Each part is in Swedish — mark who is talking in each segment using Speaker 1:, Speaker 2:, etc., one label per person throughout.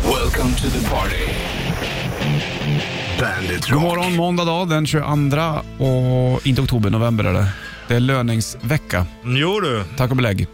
Speaker 1: Welcome to the party. Bandit Rock.
Speaker 2: God morgon, måndag dag den 22 och inte oktober, november är det. Det är löningsvecka,
Speaker 3: Jo du.
Speaker 2: tack och belägg.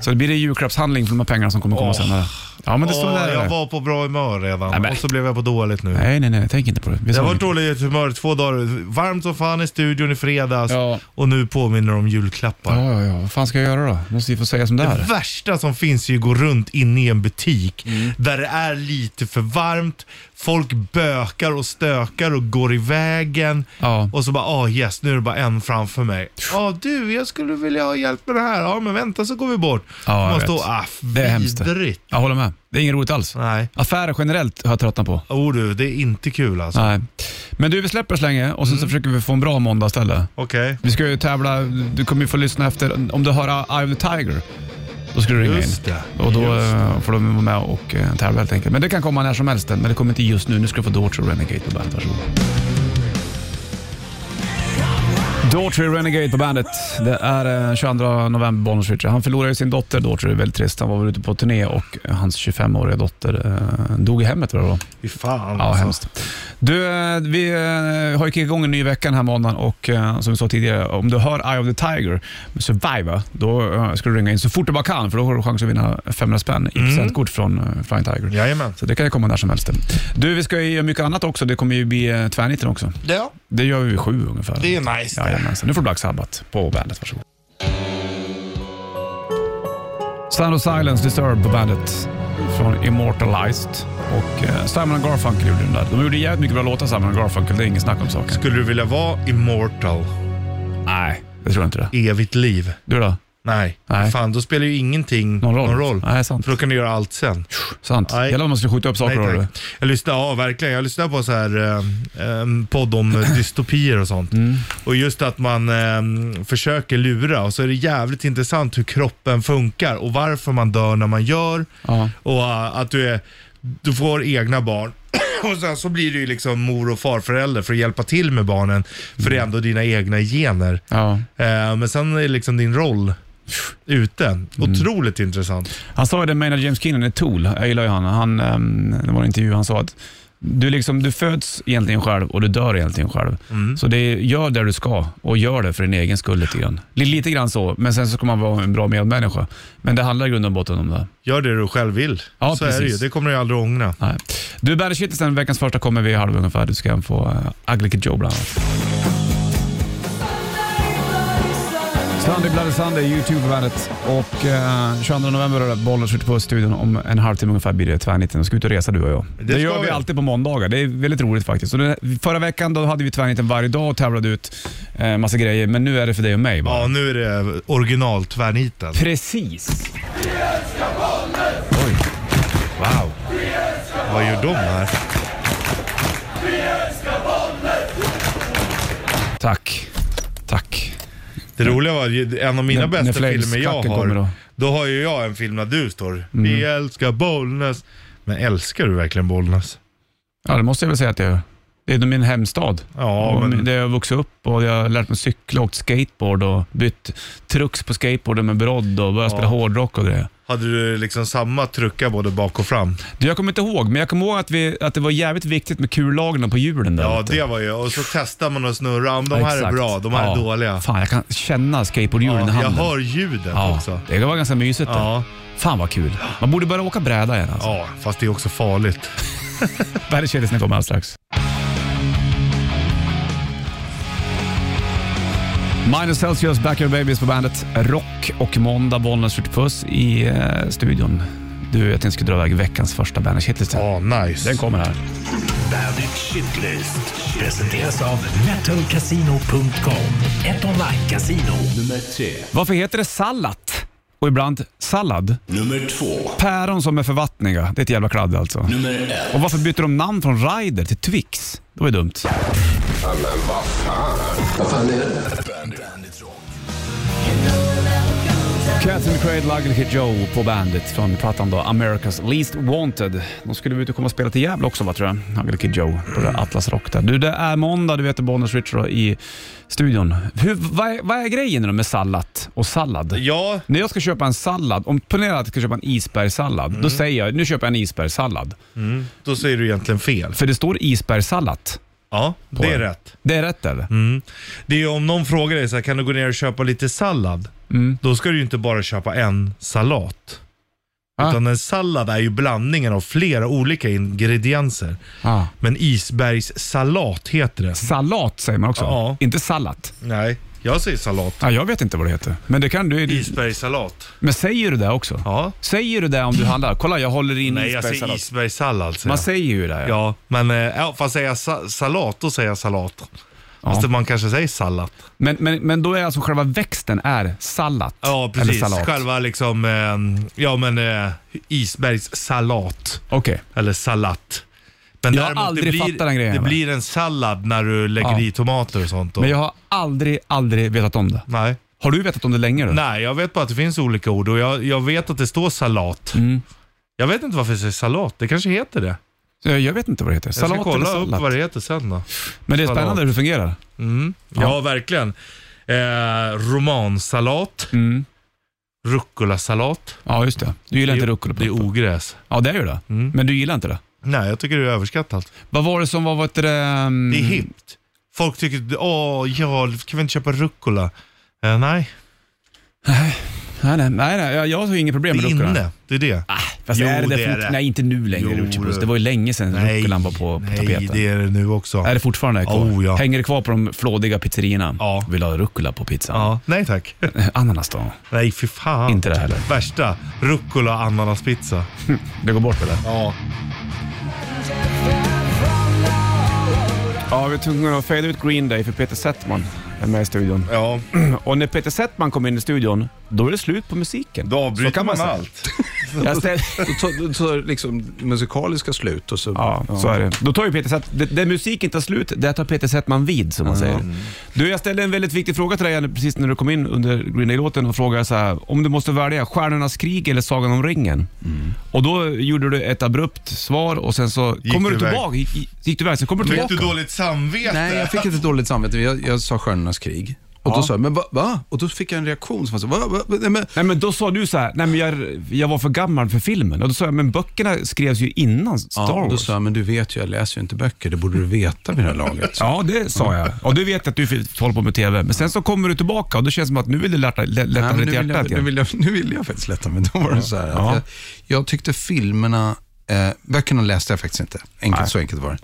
Speaker 2: Så det blir en julklappshandling för de här pengarna som kommer komma
Speaker 3: Åh.
Speaker 2: senare. Ja, men det står
Speaker 3: Åh,
Speaker 2: där.
Speaker 3: jag var på bra humör redan
Speaker 2: Nej, men-
Speaker 3: och så blev jag på dåligt nu.
Speaker 2: Nej, nej, nej, tänk inte på det. Vi
Speaker 3: Jag
Speaker 2: såg
Speaker 3: var
Speaker 2: det.
Speaker 3: dåligt humör två dagar. Varmt som fan i studion i fredags
Speaker 2: Ja.
Speaker 3: och nu påminner de om julklappar.
Speaker 2: Ja, ja, ja. Vad fan ska jag göra då? Måste ju få säga som det
Speaker 3: Det
Speaker 2: är.
Speaker 3: värsta som finns är ju att gå runt inne i en butik
Speaker 2: Mm.
Speaker 3: där det är lite för varmt, folk bökar och stökar och går i vägen
Speaker 2: Ja.
Speaker 3: och så bara ah yes, nu är det bara en framför mig. Ja ah, du, jag skulle vilja ha hjälp med det här. Ja men vänta så går vi bort.
Speaker 2: Ja, jag
Speaker 3: Man
Speaker 2: vet.
Speaker 3: står, ah,
Speaker 2: Det är hemskt.
Speaker 3: vidrigt.
Speaker 2: Jag håller med. Det är inget roligt alls.
Speaker 3: Nej.
Speaker 2: Affärer generellt har jag tröttnat på.
Speaker 3: Oh du, det är inte kul alltså.
Speaker 2: Nej. Men du, vi släpper så länge och sen
Speaker 3: Mm.
Speaker 2: så försöker vi få en bra måndag istället.
Speaker 3: Okej.
Speaker 2: Vi ska ju tävla, du kommer ju få lyssna efter, om du hör Eye of the Tiger, då ska du ringa
Speaker 3: Just
Speaker 2: in.
Speaker 3: det,
Speaker 2: Och då
Speaker 3: just
Speaker 2: eh, får de vara med och eh, tävla helt enkelt. Men det kan komma när som helst, men det kommer inte just nu. Nu ska du få Daughtry och Renegade på bandet, varsågod. Daughtry och Renegade på bandet. Det är eh, 22 november, Bonus Richard. Han förlorade ju sin dotter Daughtry, väldigt trist. Han var väl ute på turné och eh, hans 25-åriga dotter eh, dog i hemmet var det då?
Speaker 3: Fy fan alltså.
Speaker 2: Ja, hemskt. Du, eh, vi eh, har ju kickat igång en ny vecka den här månaden och eh, som vi sa tidigare, om du hör Eye of the Tiger med Survivor, då eh, ska du ringa in så fort du bara kan för då har du chans att vinna 500 spänn i presentkort från eh, Flying Tiger.
Speaker 3: Jajamän.
Speaker 2: Så det kan ju komma när som helst. Du, vi ska ju göra mycket annat också. Det kommer ju bli eh, tvärnitten också.
Speaker 3: Ja,
Speaker 2: Det gör vi vid sju ungefär.
Speaker 3: det är nice.
Speaker 2: Jajamensan. Nu får du Black Sabbath på bandet. Varsågod. Sound of Silence Disturbed på bandet från Immortalized. Och eh, Simon Garfunkel gjorde den där. De gjorde jävligt mycket bra låtar Simon Garfunkel, det är inget snack om saken.
Speaker 3: Skulle du vilja vara immortal?
Speaker 2: Nej, jag tror inte det.
Speaker 3: Evigt liv?
Speaker 2: Du då?
Speaker 3: Nej.
Speaker 2: Nej.
Speaker 3: Fan, då spelar ju ingenting
Speaker 2: Någon roll? Nej, sant.
Speaker 3: För då kan du göra allt sen.
Speaker 2: Sant.
Speaker 3: Nej.
Speaker 2: Gäller om man skulle skjuta upp saker.
Speaker 3: Nej,
Speaker 2: Nej,
Speaker 3: tack. Jag lyssnar, ja verkligen. Jag lyssnar på så här eh, en podd om eh, dystopier och sånt.
Speaker 2: Mm.
Speaker 3: Och just att man eh, försöker lura och så är det jävligt intressant hur kroppen funkar och varför man dör när man gör.
Speaker 2: ja.
Speaker 3: Och eh, att du, är, du får egna barn. Och sen så blir du ju liksom mor och farförälder för att hjälpa till med barnen. För
Speaker 2: Mm.
Speaker 3: det är ändå dina egna gener.
Speaker 2: ja.
Speaker 3: Eh, men sen är liksom din roll ute.
Speaker 2: Mm.
Speaker 3: Otroligt intressant.
Speaker 2: Han sa ju det, Maynard James Keenan i Tool, jag gillar ju han. han ehm, det var en intervju, han sa att du, liksom, du föds egentligen själv och du dör egentligen själv.
Speaker 3: Mm.
Speaker 2: Så det är, gör det du ska och gör det för din egen skull lite grann. Li- Lite grann så, men sen så ska man vara en bra medmänniska. Men det handlar i grund och botten om det.
Speaker 3: Gör det du själv vill.
Speaker 2: Ja,
Speaker 3: så är det
Speaker 2: precis.
Speaker 3: ju. Det kommer du ju aldrig ångra.
Speaker 2: Nej. Du, Bandy Kittelsen, veckans första kommer vid halv ungefär. Du ska få uh, Ugly Kid Joe bland annat. Sunday Bloody Sunday, YouTube på bandet. Och eh, 22 november är det bollen skjuter på studion. Om en halvtimme ungefär blir det tvärnitten. Vi ska ut och resa du och jag. Det,
Speaker 3: Det ska
Speaker 2: gör vi
Speaker 3: vi.
Speaker 2: alltid på måndagar. Det är väldigt roligt faktiskt. Så det, förra veckan då hade vi tvärnitten varje dag och tävlade ut eh, massa grejer. Men nu är det för dig och mig bara.
Speaker 3: Ja, nu är det originaltvärniten.
Speaker 2: Precis.
Speaker 3: Oj. Wow. Vad gör de här?
Speaker 2: Tack. Tack.
Speaker 3: Det roliga var ju en av mina
Speaker 2: När- när
Speaker 3: bästa filmer jag
Speaker 2: flameskatten kommer
Speaker 3: har.
Speaker 2: då. Mm.
Speaker 3: Då. har ju jag en film där du står. Vi älskar Bollnäs. Men älskar du verkligen Bollnäs?
Speaker 2: Ja, det måste jag väl säga att jag gör. Det är min hemstad.
Speaker 3: Ja,
Speaker 2: Och
Speaker 3: men
Speaker 2: Där jag har vuxit upp och jag har lärt mig cykla, åkt skateboard och bytt trucks på skateboarden med brodd och börjat spela hårdrock och grejer.
Speaker 3: hade du liksom samma trucka både bak och fram?
Speaker 2: Du, jag kommer inte ihåg, men jag kommer ihåg att, vi, att det var jävligt viktigt med kullagren på hjulen där.
Speaker 3: Ja,
Speaker 2: vet du.
Speaker 3: det var ju. Och så testar man och snurrar. Om de
Speaker 2: Ja,
Speaker 3: här är
Speaker 2: exakt.
Speaker 3: bra, de här
Speaker 2: Ja.
Speaker 3: är dåliga.
Speaker 2: Fan, jag kan känna skateboardhjulen
Speaker 3: Ja,
Speaker 2: i
Speaker 3: jag
Speaker 2: handen.
Speaker 3: hör ljudet
Speaker 2: ja,
Speaker 3: också.
Speaker 2: Det var ganska mysigt. det.
Speaker 3: Ja.
Speaker 2: Fan vad kul. Man borde börja åka bräda igen. Alltså.
Speaker 3: ja, fast det är också farligt.
Speaker 2: Världens kändisar kommer alldeles strax. Minus Celsius, Backyard Babies på bandet. Rock och måndag, Bollnäs skjuter puss i eh, studion. Du, jag tänkte jag skulle dra iväg veckans första bandage hitlist här.
Speaker 3: Ja, nice.
Speaker 2: Den kommer här.
Speaker 1: Bandit Shitlist.
Speaker 4: Presenteras av metalcasino.com. Ett online-casino.
Speaker 1: Nummer tre.
Speaker 2: Varför heter det sallat? Och ibland sallad?
Speaker 1: Nummer två.
Speaker 2: Päron som är förvattniga. Det är ett jävla kladd alltså.
Speaker 1: Nummer ett.
Speaker 2: Och varför byter de namn från Ryder till Twix? Det var ju dumt.
Speaker 1: Bandit Rock.
Speaker 5: You know that I'm gonna
Speaker 2: Cats and Crade Luggage Joe på bandet från plattan då, America's Least Wanted. De skulle ut och komma och spela till Gävle också va, tror jag. Luggage Joe på det Atlas Rock där. Du, det är måndag, du vet Bonus Richard i studion. Hur, vad, är, vad är grejen nu då med sallat och sallad?
Speaker 3: Ja,
Speaker 2: När jag ska köpa en sallad, om ponera att jag ska köpa en isbergssallad, då säger jag nu köper jag en isbergssallad.
Speaker 3: då säger du egentligen fel.
Speaker 2: För det står isbergssallat.
Speaker 3: Ja, det är
Speaker 2: den.
Speaker 3: rätt.
Speaker 2: Det är rätt eller?
Speaker 3: Mm. Det är ju om någon frågar dig så här, kan du gå ner och köpa lite sallad? Då ska du ju inte bara köpa en salat.
Speaker 2: Ah.
Speaker 3: Utan en sallad är ju blandningen av flera olika ingredienser.
Speaker 2: Ah.
Speaker 3: Men isbergssalat heter det.
Speaker 2: Salat säger man också,
Speaker 3: Ja.
Speaker 2: inte sallat.
Speaker 3: Nej, jag säger salat.
Speaker 2: Ja, jag vet inte vad det heter, men det kan du.
Speaker 3: Isbergssalat.
Speaker 2: Men säger du det också?
Speaker 3: Ja.
Speaker 2: Säger du det om du handlar? Kolla, jag håller in
Speaker 3: Nej, jag säger
Speaker 2: isbergssallad.
Speaker 3: isbergssallad. Säger
Speaker 2: Man
Speaker 3: jag.
Speaker 2: säger ju det.
Speaker 3: Ja, men eh, ja, fast säger jag sa- salat, då säger jag salat. Fast man kanske säger sallat.
Speaker 2: Men, men, men då är alltså själva växten är sallat.
Speaker 3: Ja,
Speaker 2: Eller
Speaker 3: precis.
Speaker 2: salat.
Speaker 3: Själva liksom, eh, ja men eh, isbergssalat.
Speaker 2: Okej.
Speaker 3: Eller salat. Men
Speaker 2: Jag har aldrig
Speaker 3: det blir,
Speaker 2: fattat den grejen,
Speaker 3: Det
Speaker 2: va?
Speaker 3: blir en sallad när du lägger
Speaker 2: Ja.
Speaker 3: i tomater och sånt. Då.
Speaker 2: Men jag har aldrig, aldrig vetat om det.
Speaker 3: Nej.
Speaker 2: Har du vetat om det länge? Då?
Speaker 3: Nej, jag vet bara att det finns olika ord och jag, jag vet att det står salat.
Speaker 2: Mm.
Speaker 3: Jag vet inte varför jag säger salat. Det kanske heter det.
Speaker 2: Så Jag jag vet inte vad det heter.
Speaker 3: Jag
Speaker 2: Salat
Speaker 3: ska
Speaker 2: eller
Speaker 3: kolla upp
Speaker 2: sallat.
Speaker 3: vad det heter sen då.
Speaker 2: Men det är spännande
Speaker 3: Salat.
Speaker 2: hur det fungerar.
Speaker 3: Ja, verkligen. Eh, romansalat.
Speaker 2: Mm.
Speaker 3: Ruccolasalat.
Speaker 2: Ja, just det. Du gillar inte rucola
Speaker 3: Det är Mm. ogräs.
Speaker 2: Ja, det är ju det. Men du gillar inte det.
Speaker 3: Nej, jag tycker det är överskattat.
Speaker 2: Vad var det som var... Vad heter det? mm,
Speaker 3: Det är hippt. Folk tycker, åh ja, kan vi inte köpa rucola? Eh, nej,
Speaker 2: Nej, nej, nej, nej jag- jag har ju inget problem
Speaker 3: det
Speaker 2: med
Speaker 3: är
Speaker 2: rucola.
Speaker 3: inne. Det är det.
Speaker 2: Fast
Speaker 3: Jo,
Speaker 2: är det,
Speaker 3: det
Speaker 2: det,
Speaker 3: är
Speaker 2: fort...
Speaker 3: det.
Speaker 2: Nej, inte nu längre.
Speaker 3: Jo,
Speaker 2: Richard Puss.
Speaker 3: du.
Speaker 2: Det var ju länge sedan rucolan var på, på tapeten.
Speaker 3: nej det är det nu också.
Speaker 2: Är det fortfarande kvar?
Speaker 3: Oh, ja.
Speaker 2: Hänger det kvar på de flådiga pizzerierna?
Speaker 3: Ja.
Speaker 2: Vill ha rucola på pizzan?
Speaker 3: Ja, nej tack.
Speaker 2: Ananas då?
Speaker 3: Nej, fy fan.
Speaker 2: Inte det heller.
Speaker 3: Värsta rucola och ananaspizza.
Speaker 2: Det går bort eller?
Speaker 3: Ja.
Speaker 2: Ja, vi är tvungna att fade ut Green Day för Peter Settman är med i studion.
Speaker 3: Ja,
Speaker 2: Och när Peter Settman kommer in i studion, då är det slut på musiken.
Speaker 3: då avbryter
Speaker 2: Så kan man säga.
Speaker 3: allt.
Speaker 2: Jag ställ...
Speaker 5: Så, så, så liksom musikaliska slut och så...
Speaker 2: Ja, så är det. Då tar ju Peter Settman... Där musiken tar slut, där tar Peter Settman vid, som man säger. Du, jag ställde en väldigt viktig fråga till dig Janne, precis när du kom in under Green Day-låten och frågade så här, om du måste välja Stjärnornas krig eller Sagan om ringen.
Speaker 5: Mm.
Speaker 2: Och då gjorde du ett abrupt svar och sen så
Speaker 3: Gick
Speaker 2: kommer du
Speaker 3: du iväg?
Speaker 2: tillbaka. Gick, gick du iväg? Sen kommer du
Speaker 3: Fick
Speaker 2: tillbaka.
Speaker 3: du dåligt samvete?
Speaker 5: Nej, jag fick lite dåligt samvete. Jag, jag sa Stjärnornas krig. Och då sa jag, men va, va? Och då fick jag en reaktion som var så, va, va, va, nej, men,
Speaker 2: Nej men då sa du så här, nej men jag, jag var för gammal för filmen. Och då sa jag, men böckerna skrevs ju innan Star
Speaker 5: ja, och då
Speaker 2: Wars.
Speaker 5: sa jag, men du vet ju, jag läser ju inte böcker. Det borde du veta vid det här laget.
Speaker 2: Ja, det sa jag. Och du vet att du håller på med TV. Men sen så kommer du tillbaka och då känns det som att nu vill du lätta, lä- lätta
Speaker 5: Nej, men
Speaker 2: ditt
Speaker 5: nu, vill
Speaker 2: hjärta
Speaker 5: jag,
Speaker 2: lite
Speaker 5: nu,
Speaker 2: grann.
Speaker 5: vill jag, nu vill jag faktiskt lätta mig. Då var det så här. att
Speaker 2: Ja.
Speaker 5: Jag, jag tyckte filmerna, eh, böckerna läste jag faktiskt inte. Enkelt,
Speaker 2: Nej.
Speaker 5: Så enkelt var det.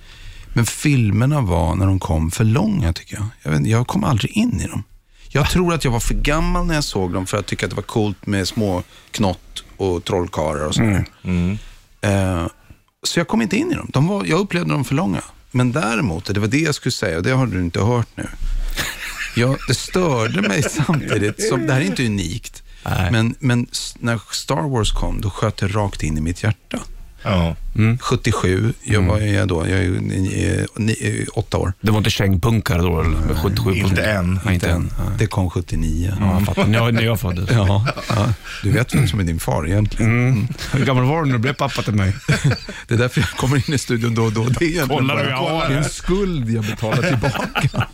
Speaker 5: Men filmerna var, när de kom, för långa tycker jag. Jag, vet, inte, jag kom aldrig in i dem. Jag tror att jag var för gammal när jag såg dem för att tycka att det var coolt med små knott och trollkarlar och sådär.
Speaker 2: Mm.
Speaker 5: Eh, så jag kom inte in i dem. De var, jag upplevde dem för långa. Men däremot, och det var det jag skulle säga och det har du inte hört nu. Ja, det störde mig samtidigt. Som, det här är inte unikt. Men, men s- när Star Wars kom, då sköt det rakt in i mitt hjärta.
Speaker 3: Ja.
Speaker 5: Mm. 77, jag var är jag då? Jag är ju ni- eh, ni- eh, åtta år.
Speaker 2: Det var inte kängpunkare då? Eller? med 77
Speaker 3: Inte än.
Speaker 2: Nej, inte än.
Speaker 5: Det kom 79.
Speaker 2: Ja, jag fattar. När jag, när jag föddes.
Speaker 5: Ja, ja. Du vet vem som är din far egentligen.
Speaker 2: Hur gammal var du när du blev pappa till mig?
Speaker 5: Det är därför jag kommer in i studion då och då. Det är egentligen
Speaker 2: Kollar du, jag har
Speaker 5: bara det är en skuld jag betalar tillbaka.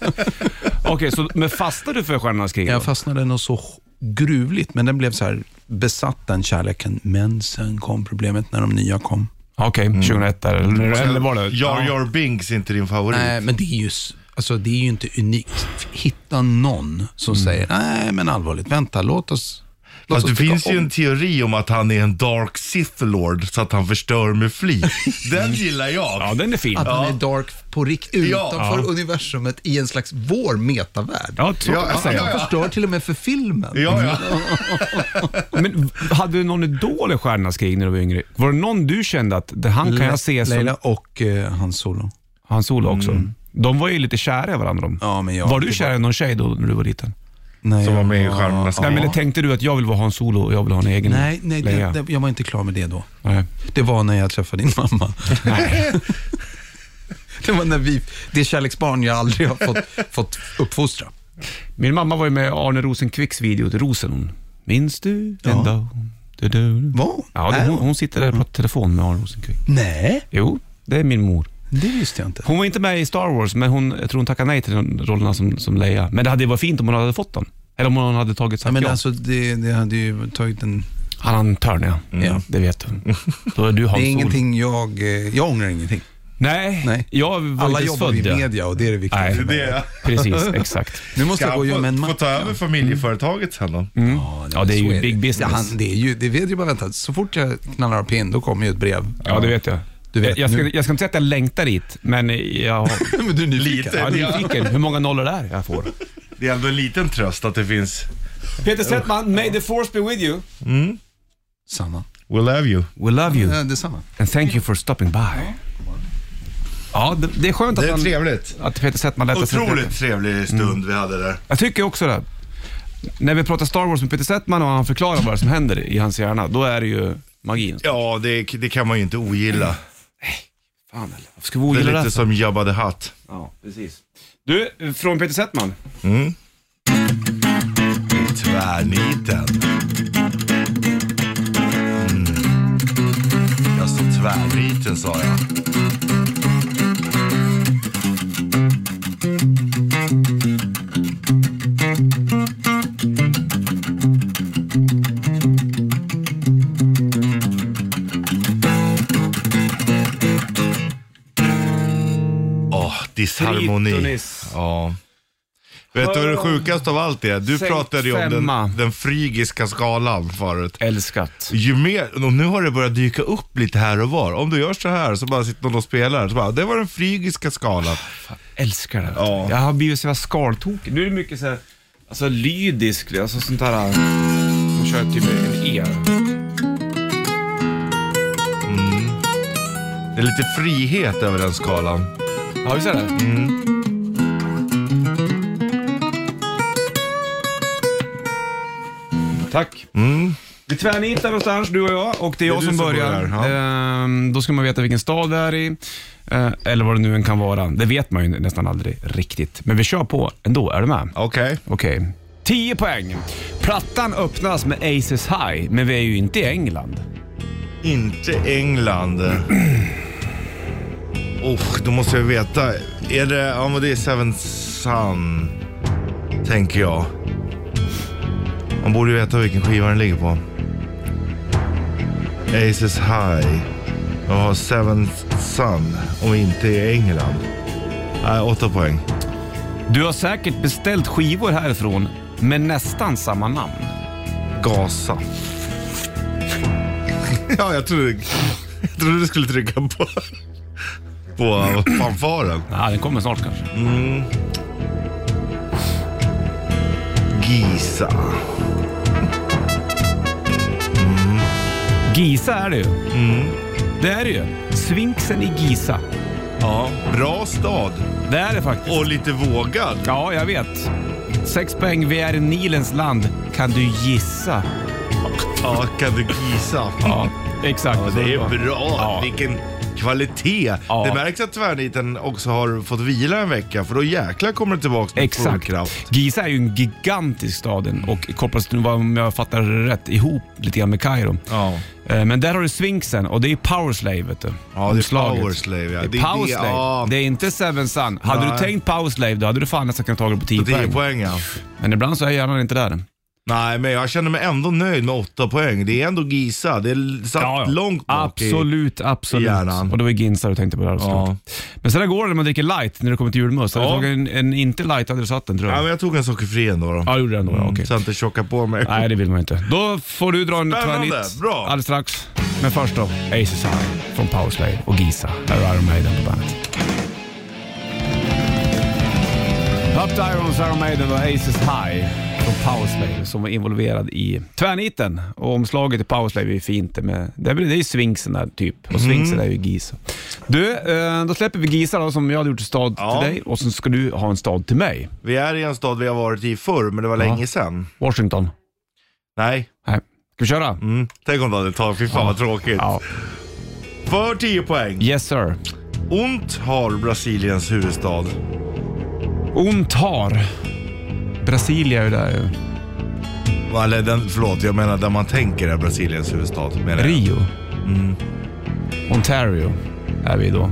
Speaker 2: Okej, så, men fastade du för Stjärnornas krig?
Speaker 5: Jag fastnade nog så gruvligt, men den blev så här besatt den kärleken. Men sen kom problemet när de nya kom.
Speaker 2: Okej, 2001 där. Eller, eller var det?
Speaker 3: Jar Jar Binks är inte din favorit.
Speaker 5: Nej, men det är ju, s- alltså, det är ju inte unikt. Hitta någon som säger, nej men allvarligt, vänta, låt oss... Låt
Speaker 3: Mm. Fast
Speaker 5: oss
Speaker 3: det
Speaker 5: tycka
Speaker 3: finns ju
Speaker 5: om."
Speaker 3: en teori om att han är en dark Sith Lord så att han förstör med flit. Den gillar jag.
Speaker 2: Ja, den är fin.
Speaker 5: Att
Speaker 2: Ja,
Speaker 5: han är dark på rikt utanför universumet i en slags vår metavärld.
Speaker 2: så kan man
Speaker 5: Han
Speaker 2: säga.
Speaker 5: förstör till och med för filmen.
Speaker 3: Ja, ja.
Speaker 2: Mm. Men hade du någon idol i Stjärnornas krig när du var yngre? Var det någon du kände att det, han kan jag se som
Speaker 5: Leila och eh, hans solo.
Speaker 2: Han Solo också. De var ju lite kära i varandra. De.
Speaker 5: Ja, men jag-
Speaker 2: var du
Speaker 5: det
Speaker 2: kär i någon tjej då när du var liten?
Speaker 5: Nej,
Speaker 3: Som var med i
Speaker 5: jag-
Speaker 3: Stjärnornas
Speaker 2: Nej,
Speaker 3: krig.
Speaker 2: men tänkte du att jag vill vara Hans Solo och jag vill ha en egen
Speaker 5: Nej, nej
Speaker 2: Leia?
Speaker 5: det, det, jag var inte klar med det då.
Speaker 2: Nej.
Speaker 5: Det var när jag träffade din mamma.
Speaker 2: Nej.
Speaker 5: Det var när vi, det kärleksbarn jag aldrig har fått, fått uppfostra.
Speaker 2: Min mamma var ju med i Arne Rosenkvicks video till Rosen. Hon. Minns du den
Speaker 5: Ja. Mm.
Speaker 2: dagen? Du, du, du.
Speaker 5: Vad?
Speaker 2: Ja, det,
Speaker 5: Är
Speaker 2: hon, hon sitter där och pratar telefon med Aron Rosenkvist.
Speaker 5: Nej,
Speaker 2: Jo, det är min mor.
Speaker 5: det visste jag inte.
Speaker 2: Hon var inte med i Star Wars, men hon, jag tror hon tackade nej till de rollerna som, som Leia. Men det hade ju varit fint om hon hade fått dem. Eller om hon hade tagit
Speaker 5: Ja,
Speaker 2: sagt
Speaker 5: men
Speaker 2: ja.
Speaker 5: alltså, det, det hade ju tagit en...
Speaker 2: Han har en törn, ja.
Speaker 5: Ja.
Speaker 2: Det vet du. Då är du Hans
Speaker 5: Mm. Det är
Speaker 2: Sol.
Speaker 5: ingenting jag... eh, Jag ångrar ingenting.
Speaker 2: Nej,
Speaker 5: Nej.
Speaker 2: jag var
Speaker 5: Alla
Speaker 2: inte ens
Speaker 5: jobbar
Speaker 2: född.
Speaker 5: i
Speaker 2: ja.
Speaker 5: media och det är det viktiga.
Speaker 2: Nej.
Speaker 5: för mig.
Speaker 3: Det är,
Speaker 2: Precis, exakt.
Speaker 5: Nu måste
Speaker 3: ska
Speaker 5: jag gå och
Speaker 3: han
Speaker 5: göra mig en
Speaker 3: få, få
Speaker 5: mack. Mm.
Speaker 3: ta över familjeföretaget sen då?
Speaker 2: Ja, det är
Speaker 5: Så
Speaker 2: ju big business.
Speaker 5: Ja, han, det, är ju, det vet ju bara vänta. Så fort jag knallar upp in, då kommer ju ett brev.
Speaker 2: Ja, det vet jag.
Speaker 5: Du vet,
Speaker 2: jag, jag, ska,
Speaker 5: nu-
Speaker 2: jag ska inte säga att jag längtar dit, men jag,
Speaker 5: men du är nyfiken.
Speaker 2: jag
Speaker 3: Lite.
Speaker 2: är nyfiken hur många nollor det är jag får.
Speaker 3: Det är ändå en liten tröst att det finns
Speaker 2: Peter Settman, may the force be with you.
Speaker 5: Samma.
Speaker 3: We'll have you.
Speaker 2: We love you
Speaker 5: Ja, detsamma.
Speaker 2: and thank you for stopping by. Ja, det, det är skönt att,
Speaker 3: Det är
Speaker 2: han,
Speaker 3: trevligt.
Speaker 2: att Peter Settman lät oss-
Speaker 3: Otroligt trevlig stund vi hade där.
Speaker 2: Jag tycker också det. När vi pratar Star Wars med Peter Settman och han förklarar vad som händer i hans hjärna, då är det ju magin.
Speaker 3: Ja, det, det kan man ju inte ogilla.
Speaker 2: Fan eller? Varför ska vi
Speaker 3: Det är
Speaker 2: ogilla det?
Speaker 3: lite
Speaker 2: här för?
Speaker 3: som Jabba the Hutt.
Speaker 2: Ja, precis. Du, från Peter Settman.
Speaker 3: Mm. I tvärniten. Mm. Jag står tvärniten sa jag. Åh, disharmoni.
Speaker 2: Tritonis.
Speaker 3: Ja. Vet du vad det sjukaste av allt är? Du
Speaker 2: Sänkt
Speaker 3: pratade ju om
Speaker 2: femma.
Speaker 3: den, den frygiska skalan förut.
Speaker 2: Älskat.
Speaker 3: Ju mer, och nu har det börjat dyka upp lite här och var. Om du gör så här så bara sitter någon och spelar. Så bara, det var den frygiska skalan.
Speaker 2: Älskar det.
Speaker 3: Ja.
Speaker 2: Jag har blivit så jävla skaltokig. Nu är det mycket så här, alltså lydisk, alltså sånt här. Man kör typ en E.
Speaker 3: Det är lite frihet över den skalan.
Speaker 2: Ja, visst är det? Tack. Vi tvärnitar någonstans, du och jag, och Mm. det är jag
Speaker 3: du
Speaker 2: som
Speaker 3: som
Speaker 2: börjar.
Speaker 3: börjar,
Speaker 2: Ehm, då ska man veta vilken stad det är i, eh, eller vad det nu än kan vara. Det vet man ju nästan aldrig riktigt, men vi kör på ändå. Är du med?
Speaker 3: Okej.
Speaker 2: Okej. 10 poäng. Plattan öppnas med Aces High, men vi är ju inte i England.
Speaker 3: Inte England. Oh, då måste jag veta. Är det, ja men det är Seven Sun, tänker jag. Man borde ju veta vilken skiva den ligger på. Aces High. Jag har Seven Sun och inte i England. Nej, åtta poäng.
Speaker 2: Du har säkert beställt skivor härifrån med nästan samma namn.
Speaker 3: Gaza. ja, jag trodde, jag trodde du skulle trycka på, på fanfaren.
Speaker 2: Ja, den kommer snart kanske.
Speaker 3: Giza.
Speaker 2: Giza är det ju. Mm. Det är det ju. Svinksen i Giza.
Speaker 3: Ja. Bra stad
Speaker 2: Det är det faktiskt.
Speaker 3: och lite vågad.
Speaker 2: Ja, jag vet. Sex poäng. Vi är i Nilens land. Kan du gissa?
Speaker 3: Ja, kan du gissa?
Speaker 2: Ja, exakt.
Speaker 3: Ja, det är bra.
Speaker 2: Ja.
Speaker 3: Vilken kvalitet.
Speaker 2: Ja.
Speaker 3: Det märks att tvärniten också har fått vila en vecka för då jäklar kommer det tillbaka med full
Speaker 2: Exakt.
Speaker 3: kraft.
Speaker 2: Giza är ju en gigantisk staden och kopplas, nu, om jag fattar rätt, ihop lite grann med Kairo.
Speaker 3: Ja.
Speaker 2: Eh, Men där har du Sphinxen och det är Powerslave vet du.
Speaker 3: Ja, det är
Speaker 2: Omslaget.
Speaker 3: Powerslave, ja.
Speaker 2: Det är
Speaker 3: Det är det,
Speaker 2: Powerslave. Det,
Speaker 3: ja.
Speaker 2: är inte Seven Sun. Hade
Speaker 3: Nej.
Speaker 2: du tänkt Powerslave då hade du fan nästan kunnat ta det på 10
Speaker 3: 10
Speaker 2: poäng.
Speaker 3: poäng ja.
Speaker 2: Men ibland så är hjärnan inte där.
Speaker 3: Nej, men jag känner mig ändå nöjd med åtta poäng. Det är ändå Giza. Det är satt långt bak i-
Speaker 2: Absolut, absolut.
Speaker 3: hjärnan.
Speaker 2: Och det var Ginza du tänkte på där
Speaker 3: Ja.
Speaker 2: såklart. Men sen där går det när man dricker light när det kommer till julmust. Hade
Speaker 3: Ja.
Speaker 2: du tagit en, en inte light hade du satt den tror
Speaker 3: Ja,
Speaker 2: jag.
Speaker 3: men jag tog en sockerfri ändå då.
Speaker 2: Ja, du gjorde det ändå. ja, Okej.
Speaker 3: Så jag inte tjockar på mig.
Speaker 2: Nej, det vill man inte. Då får du dra en
Speaker 3: Spännande,
Speaker 2: tvärnit
Speaker 3: bra.
Speaker 2: alldeles strax. Men först då, Aces High från Powerslave och Giza. Här är Iron Maiden på bandet. Up to Irons, Iron Maiden och Aces High från Powerslave som var involverad i tvärniten. Och omslaget i Powerslave är ju fint. det Med, det är väl- det är ju Sphinxen där typ.
Speaker 3: Mm.
Speaker 2: Och Sphinxen är ju Giza. Du, eh, då släpper vi Giza då, som jag hade gjort en stad
Speaker 3: Ja.
Speaker 2: till dig och sen ska du ha en stad till mig.
Speaker 3: Vi är i en stad vi har varit i förr, men det var länge sedan.
Speaker 2: Washington.
Speaker 3: Nej.
Speaker 2: Nej. Ska vi köra?
Speaker 3: Mm. Tänk om det hade tagit. Fy fan vad tråkigt.
Speaker 2: Ja.
Speaker 3: För 10 poäng.
Speaker 2: Yes sir.
Speaker 3: Ont har Brasiliens huvudstad.
Speaker 2: Ont har. Brasilia är ju där ju.
Speaker 3: Eller den, förlåt, jag menar där man tänker är Brasiliens huvudstad. Menar jag.
Speaker 2: Rio. Mm. Ontario är vi då.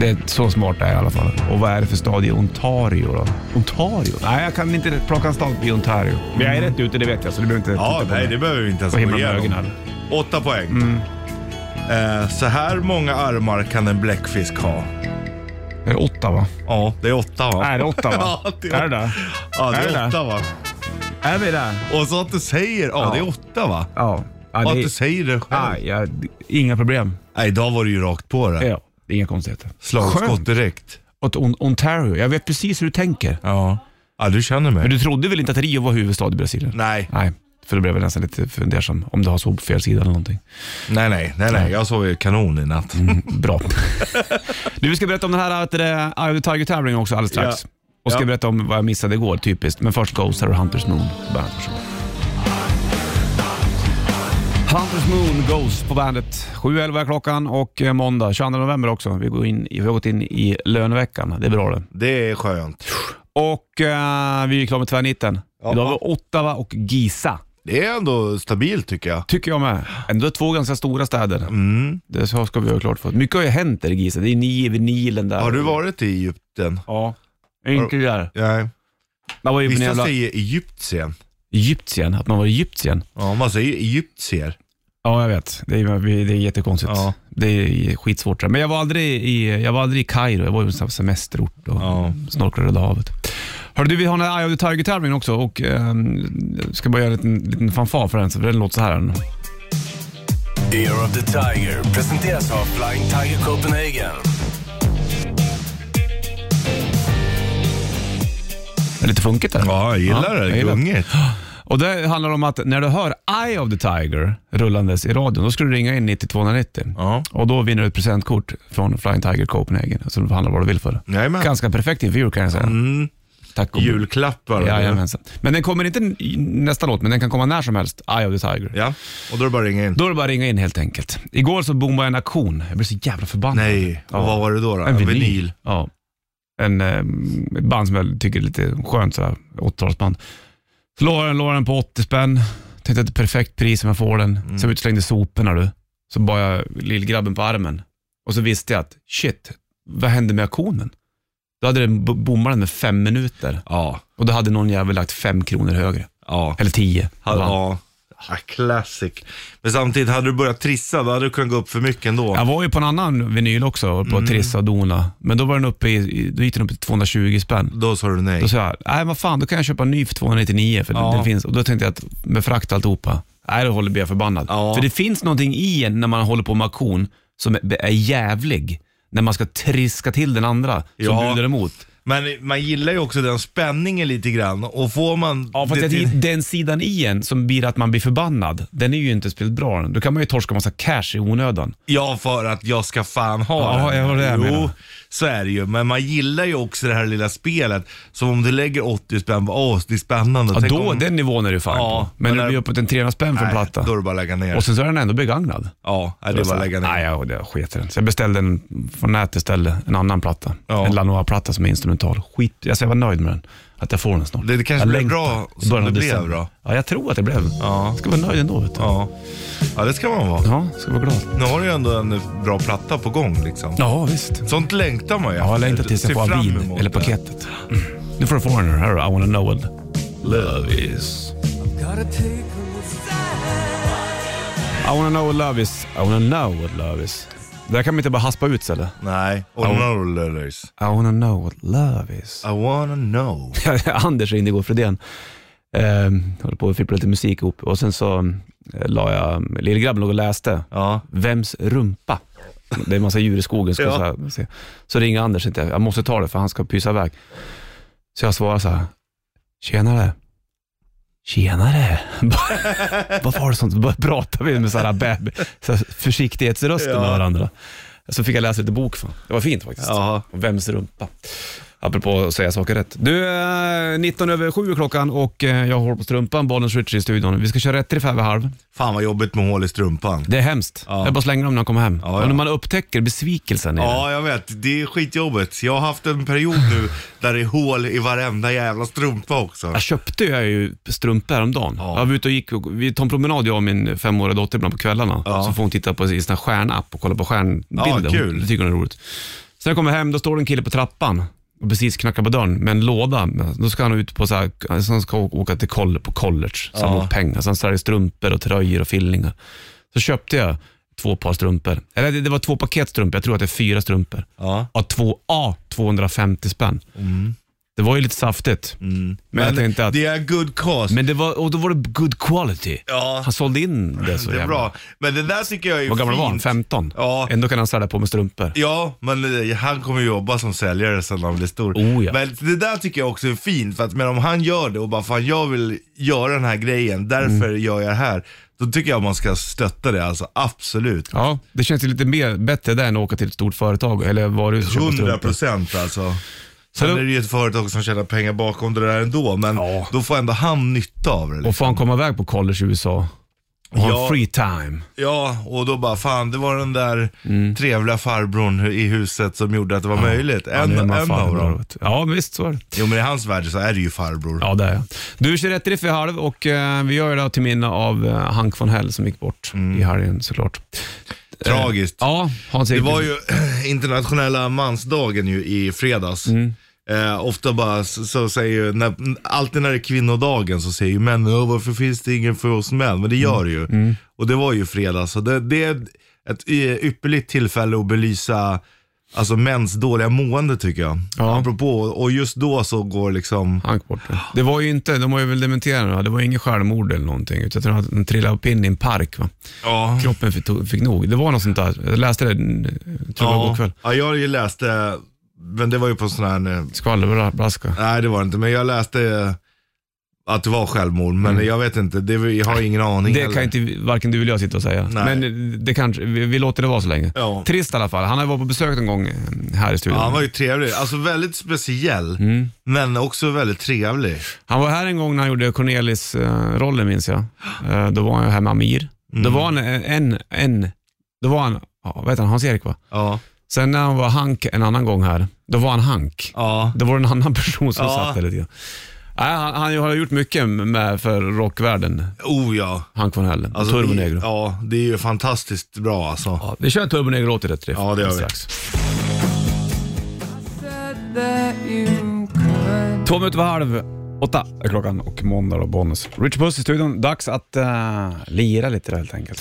Speaker 2: Det är så smart det är i alla fall. Och vad är det för stad i Ontario då? Ontario? Mm. Nej, jag kan inte plocka en stad i Ontario. Men jag är rätt ute, det vet jag, så du behöver inte
Speaker 3: Ja,
Speaker 2: titta på
Speaker 3: nej
Speaker 2: mig.
Speaker 3: det behöver vi inte ens
Speaker 2: Och Mm. himla
Speaker 3: gå
Speaker 2: med
Speaker 3: igenom.
Speaker 2: ögonen.
Speaker 3: Åtta poäng. Eh, så här många armar kan en bläckfisk ha.
Speaker 2: Det är åtta va?
Speaker 3: Ja, det är åtta va?
Speaker 2: Nej, det är åtta va?
Speaker 3: Ja, det
Speaker 2: är
Speaker 3: är-
Speaker 2: det där?
Speaker 3: Ja, det
Speaker 2: Är
Speaker 3: är,
Speaker 2: det
Speaker 3: åtta va?
Speaker 2: Är vi där?
Speaker 3: Och så att du säger, ja, det är åtta va?
Speaker 2: Ja.
Speaker 3: Och
Speaker 2: ja
Speaker 3: att
Speaker 2: det
Speaker 3: du
Speaker 2: är...
Speaker 3: säger det själv.
Speaker 2: ah, ja, d- inga problem.
Speaker 3: Nej, idag var det ju rakt på det.
Speaker 2: Ja, det är inga konstigheter.
Speaker 3: Slagskott
Speaker 2: Skönt.
Speaker 3: direkt.
Speaker 2: Åt On- Ontario. Jag vet precis hur du tänker.
Speaker 3: Ja. ja, du känner mig.
Speaker 2: Men du trodde väl inte att Rio var huvudstad i Brasilien?
Speaker 3: Nej,
Speaker 2: Nej, för då blev jag nästan lite fundersam om du har så på fel sida eller någonting.
Speaker 3: nej, nej, nej, nej. Jag sov ju kanon i natt.
Speaker 2: Bra. du, vi ska berätta om den här vet du, det, Eye of the Tiger-tävlingen också alldeles strax.
Speaker 3: Ja.
Speaker 2: Och ska
Speaker 3: Ja.
Speaker 2: berätta om vad jag missade igår, typiskt. Men först Ghost här och Hunters Moon på bandet. Varsågod. Hunters Moon Ghost på bandet. 7.11 är klockan och eh, måndag 22 november också. Vi, går in, i- vi har gått in i löneveckan. Det är bra det.
Speaker 3: Det är skönt.
Speaker 2: Och eh, vi är klara med tvärnitten. Idag var det Ottawa och Giza.
Speaker 3: Det är ändå stabilt tycker jag. Mm.
Speaker 2: Tycker jag med. Ändå två ganska stora städer. Det så ska vi ha klart för oss. Mycket har ju hänt där i Giza. Det är Niv, Nilen där.
Speaker 3: Har du varit i Egypten?
Speaker 2: Ja. Inte det där.
Speaker 3: Nej.
Speaker 2: Det var ju på
Speaker 3: Vissa
Speaker 2: jävla
Speaker 3: säger Egyptien.
Speaker 2: Egyptien, att man var i Egyptien.
Speaker 3: Ja, man säger egyptier.
Speaker 2: Ja, jag vet. Det är, vi- det är jättekonstigt.
Speaker 3: Ja.
Speaker 2: Det är skitsvårt. det där. Men jag var aldrig i, jag var aldrig i Kairo. Jag var ju på en semesterort och
Speaker 3: Ja.
Speaker 2: snorklade Röda havet. Hörru du, vi har en Eye of the Tiger-tävling också och ehm, jag ska bara göra en liten, liten fanfar för den, så för den låter så här.
Speaker 4: Ear of the Tiger presenteras av Flying Tiger Copenhagen.
Speaker 2: Det är lite funkigt där.
Speaker 3: Ja, jag gillar det.
Speaker 2: jag gillar det.
Speaker 3: Gungigt.
Speaker 2: Och det handlar om att när du hör Eye of the Tiger rullandes i radion, då ska du ringa in 9290.
Speaker 3: Ja.
Speaker 2: Och då vinner du ett presentkort från Flying Tiger Copenhagen. Så du handlar vad du vill för det.
Speaker 3: Jajamän.
Speaker 2: Ganska perfekt intervju kan jag säga.
Speaker 3: Mm.
Speaker 2: Tack och
Speaker 3: Julklappar.
Speaker 2: Jajamensan. Men den kommer inte i nästa låt, men den kan komma när som helst. Eye of the Tiger.
Speaker 3: ja, och då är det bara att ringa in.
Speaker 2: Då är det bara att ringa in helt enkelt. Igår så boomade en auktion. Jag blev så jävla förbannad.
Speaker 3: Nej, och
Speaker 2: Ja.
Speaker 3: vad var det då? då?
Speaker 2: En vinyl. Ja. En, eh, ett band som jag tycker är lite skönt, sådär, 80-talsband. Så låg den, låg den på 80 spänn. Tänkte att det är perfekt pris om jag får den. Så jag utslängde soporna du. Så bar jag lillgrabben på armen. Och så visste jag att shit, vad hände med auktionen? Då hade den bo- bommat den med fem minuter.
Speaker 3: Ja.
Speaker 2: Och då hade någon jävel lagt fem kronor högre.
Speaker 3: Ja.
Speaker 2: Eller tio.
Speaker 3: Ha, ja. ja. Classic. Men samtidigt, hade du börjat trissa, då hade du kunnat gå upp för mycket ändå.
Speaker 2: Jag var ju på en annan vinyl också, på Trissa och Dona. Men då, var den uppe i, i- då gick den upp till 220 spänn.
Speaker 3: Då sa du nej.
Speaker 2: Då sa jag, nej vad fan, då kan jag köpa en ny för 299 för
Speaker 3: Ja.
Speaker 2: den finns. Och då tänkte jag att med frakt och alltihopa, nej då håller blir jag förbannad.
Speaker 3: Ja.
Speaker 2: För det finns någonting i en när man håller på med auktion som är, är jävlig. När man ska triska till den andra som
Speaker 3: Ja.
Speaker 2: bjuder emot.
Speaker 3: Men man gillar ju också den spänningen lite grann. Och får man...
Speaker 2: Ja, fast
Speaker 3: det,
Speaker 2: det, den sidan i en som blir att man blir förbannad, den är ju inte spelat bra. Då kan man ju torska massa cash i onödan.
Speaker 3: ja, för att jag ska fan ha
Speaker 2: Ja,
Speaker 3: den.
Speaker 2: ja, det var det jag
Speaker 3: jo,
Speaker 2: menade.
Speaker 3: så är det ju. Men man gillar ju också det här lilla spelet. Som om du lägger 80 spänn, bara, åh, det är spännande.
Speaker 2: Ja,
Speaker 3: Tänk
Speaker 2: då,
Speaker 3: om...
Speaker 2: Den nivån är du fan
Speaker 3: Ja,
Speaker 2: på. Men
Speaker 3: men
Speaker 2: när
Speaker 3: när-
Speaker 2: du blir uppåt en 300 spänn för en
Speaker 3: Nej,
Speaker 2: platta.
Speaker 3: Då är det bara att lägga ner.
Speaker 2: Och sen så är den ändå begagnad.
Speaker 3: Ja, nej,
Speaker 2: Då
Speaker 3: det är
Speaker 2: så
Speaker 3: bara
Speaker 2: här,
Speaker 3: att lägga ner.
Speaker 2: Nej, jag, jag sket i den. Så jag beställde en från nätet istället, en annan platta.
Speaker 3: Ja.
Speaker 2: En Lanoa-platta som är instrumental. Skit, alltså jag var nöjd med den. Att jag får den snart.
Speaker 3: Det- det kanske
Speaker 2: jag
Speaker 3: blev
Speaker 2: längtar.
Speaker 3: bra
Speaker 2: I
Speaker 3: som
Speaker 2: början
Speaker 3: det
Speaker 2: av
Speaker 3: blev
Speaker 2: december.
Speaker 3: då.
Speaker 2: Ja, jag tror att det blev.
Speaker 3: Ja.
Speaker 2: Jag ska vara nöjd ändå. Vet du.
Speaker 3: Ja. ja, det ska man vara.
Speaker 2: ja, ska vara glad.
Speaker 3: Nu har du ju ändå en bra platta på gång liksom.
Speaker 2: Ja, visst.
Speaker 3: Sånt längtar man ju.
Speaker 2: Ja, jag längtar tills jag
Speaker 3: Ser
Speaker 2: får en
Speaker 3: fram
Speaker 2: bil
Speaker 3: emot
Speaker 2: eller
Speaker 3: det.
Speaker 2: paketet. Mm. Nu får du Foreigner. Här då, I wanna know what love is. I wanna know what love is. I wanna know what love is. Det där kan man inte bara haspa ut eller?
Speaker 3: Nej, och no lillers.
Speaker 2: I wanna know what love is.
Speaker 3: I wanna know.
Speaker 2: Anders ringde igår Fredén. Um, höll på och fipplade lite musik ihop och sen så um, la jag, lillgrabben låg och läste.
Speaker 3: Ja.
Speaker 2: Vems rumpa? Det är en massa djur i skogen. Ska
Speaker 3: Ja.
Speaker 2: så, här, se. så ringer Anders, inte. jag måste ta det för han ska pysa iväg. Så jag svarar så här, tjenare. Tjenare. Bara- Varför har du sånt? Bara pratar vi med så här, bab, så här försiktighetsröster med
Speaker 3: Ja.
Speaker 2: varandra. Så fick jag läsa lite bok. Fan. Det var fint faktiskt.
Speaker 3: Jaha.
Speaker 2: Och Vems rumpa? Apropå att säga saker rätt. Du, eh, 19 över 7 är klockan och eh, jag håller på strumpan, Bollens Richie i studion. Vi ska köra rätt riff här vid halv.
Speaker 3: Fan vad jobbigt med hål i strumpan.
Speaker 2: Det är hemskt.
Speaker 3: Ja.
Speaker 2: Jag bara slänger dem när jag kommer hem.
Speaker 3: ja.
Speaker 2: Och när man upptäcker besvikelsen i det.
Speaker 3: Ja, jag vet. Det är skitjobbigt. Jag har haft en period nu där det är hål i varenda jävla strumpa också.
Speaker 2: Jag köpte ju- jag ju strumpor häromdagen.
Speaker 3: Ja.
Speaker 2: Jag var ute och gick, och, vi tog en promenad jag och min femåriga dotter ibland på kvällarna. Så får hon titta på sin sån här stjärnapp och kolla på stjärnbilder.
Speaker 3: Ja, kul.
Speaker 2: Hon- Det tycker hon är roligt. Sen när jag kommer hem, då står det en kille på trappan och precis knackar på dörren med en låda. Då ska han ut på så här, så han ska åka till koll, på college, samla ihop pengar. Så han säljer strumpor och tröjor och fillingar. Så köpte jag två par strumpor. Eller det, det var två paket strumpor, jag tror att det är fyra strumpor.
Speaker 3: Ja.
Speaker 2: Ja, två A, 250 spänn. Det var ju lite saftigt. Men jag tänkte att-
Speaker 3: det är good cause.
Speaker 2: Men det var, och då var det good quality.
Speaker 3: Ja.
Speaker 2: Han sålde in det så
Speaker 3: det är
Speaker 2: jävla.
Speaker 3: bra. Men det där tycker jag är
Speaker 2: Vad gammal
Speaker 3: fint.
Speaker 2: var han? 15?
Speaker 3: Ja.
Speaker 2: Ändå kan han sälja på med strumpor.
Speaker 3: Ja, men eh, han kommer jobba som säljare sen han blir stor.
Speaker 2: Oh, ja.
Speaker 3: Men det där tycker jag också är fint, för att men om han gör det och bara fan jag vill göra den här grejen, därför
Speaker 2: Mm.
Speaker 3: gör jag det här. Då tycker jag man ska stötta det alltså, absolut.
Speaker 2: Ja, det känns ju lite mer, bättre där än att åka till ett stort företag eller varuhus och köpa
Speaker 3: 100
Speaker 2: strumpor.
Speaker 3: procent alltså. Sen
Speaker 2: då-
Speaker 3: är det ju ett företag som tjänar pengar bakom det där ändå, men
Speaker 2: Ja.
Speaker 3: då får ändå han nytta av det.
Speaker 2: Och
Speaker 3: Liksom.
Speaker 2: får han komma iväg på college i USA och ha
Speaker 3: Ja.
Speaker 2: free time.
Speaker 3: Ja, och då bara fan, det var den där trevliga farbrorn i huset som gjorde att det var möjligt.
Speaker 2: Mm. Ja,
Speaker 3: En,
Speaker 2: nu är man
Speaker 3: en av
Speaker 2: farbror,
Speaker 3: dem.
Speaker 2: vet du. Ja, men visst så är det.
Speaker 3: Jo men i hans värld så är det ju farbror.
Speaker 2: Ja, det är jag. Du, kör rätt riff i halv och eh, vi gör det här till minne av eh, Hank von Hell som gick bort i helgen såklart.
Speaker 3: Tragiskt.
Speaker 2: Ja, Hans
Speaker 3: Mm. Det
Speaker 2: Eklind.
Speaker 3: var ju internationella mansdagen ju i fredags. Eh, ofta bara s- så säger ju, när, alltid när det är kvinnodagen så säger ju män, "Åh, varför finns det ingen för oss män? Men det gör det ju. Och det var ju fredags. Så det, det är ett y- ypperligt tillfälle att belysa alltså, mäns dåliga mående tycker jag.
Speaker 2: Ja.
Speaker 3: Apropå, och just då så går liksom,
Speaker 2: Hank bort. ja. Det var ju inte, de har ju väl dementerat det, va? det var inget självmord eller någonting. Utan jag tror att han trillade upp in i en park. Va?
Speaker 3: ja.
Speaker 2: Kroppen fick, tog- fick nog. Det var något sånt där. Jag läste det, mm, jag tror jag var igår kväll.
Speaker 3: ja, jag har ju läst, eh, men det var ju på sån här eh,
Speaker 2: Skvallerbraska.
Speaker 3: Nej det var det inte, men jag läste eh, att det var självmord, men jag vet inte, det, jag har ingen aning
Speaker 2: Mm. Det
Speaker 3: heller.
Speaker 2: kan inte vi- varken du eller jag sitta och säga.
Speaker 3: Nej.
Speaker 2: Men eh, det kanske, vi, vi låter det vara så länge.
Speaker 3: Ja.
Speaker 2: Trist i alla fall. Han har ju varit på besök någon gång eh, här i studion.
Speaker 3: ja, han var ju trevlig, alltså väldigt speciell,
Speaker 2: Mm.
Speaker 3: men också väldigt trevlig.
Speaker 2: Han var här en gång när han gjorde Cornelis-rollen minns jag. Eh, Då var han här med Amir.
Speaker 3: Mm.
Speaker 2: Då var han en, en, en då var han, ja, vad heter han, Hans-Erik va?
Speaker 3: Ja,
Speaker 2: Sen när han var Hank en annan gång här, då var han Hank.
Speaker 3: ja.
Speaker 2: Då var det en annan person som
Speaker 3: Ja.
Speaker 2: satt där lite grann. Nej, han, han har gjort mycket med för rockvärlden,
Speaker 3: Oh ja.
Speaker 2: Hank von Hellen.
Speaker 3: Alltså,
Speaker 2: Turbo
Speaker 3: det-
Speaker 2: Negro. Ja.
Speaker 3: Ja, det är ju fantastiskt bra alltså.
Speaker 2: vi kör en Turbo Negro-låt i rätt riff
Speaker 3: Ja, det gör vi.
Speaker 2: strax. Två minuter över halv åtta är klockan och måndag och bonus. Richard Puss i studion. Dags att eh, lira lite då, helt enkelt.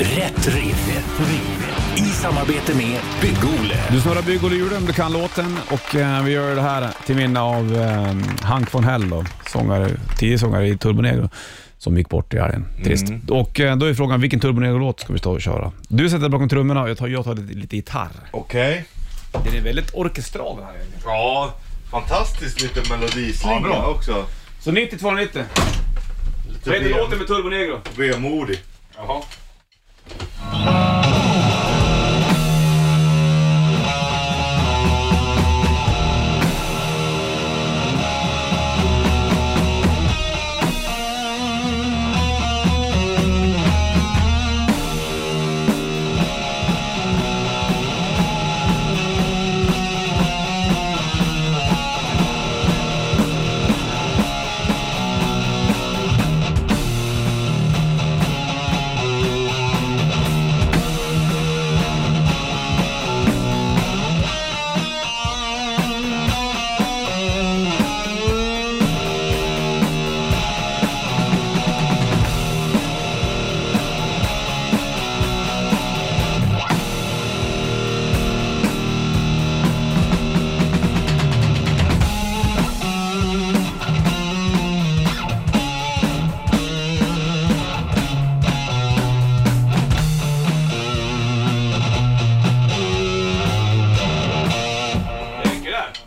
Speaker 4: Rätt riff. Rätt riff. I samarbete med Bygg-Ole.
Speaker 2: Du snurrar bygg och hjulen, du kan låten och eh, vi gör det här till minne av eh, Hank von Hell, då, sångare, tidig sångare i Turbo Negro som gick bort i helgen. Trist. Och eh, då är frågan, vilken Turbo Negro-låt ska vi stå och köra? Du sätter dig bakom trummorna och jag tar, jag tar lite, lite gitarr.
Speaker 3: Okej.
Speaker 2: Den är väldigt orkestral den här egentligen.
Speaker 3: Ja, fantastiskt lite melodislinga
Speaker 2: Ja, bra.
Speaker 3: också.
Speaker 2: Så 90-290.
Speaker 3: Lite
Speaker 2: Vad heter
Speaker 3: vem-
Speaker 2: låten med Turbo Negro?
Speaker 3: vemodig.
Speaker 2: Jaha.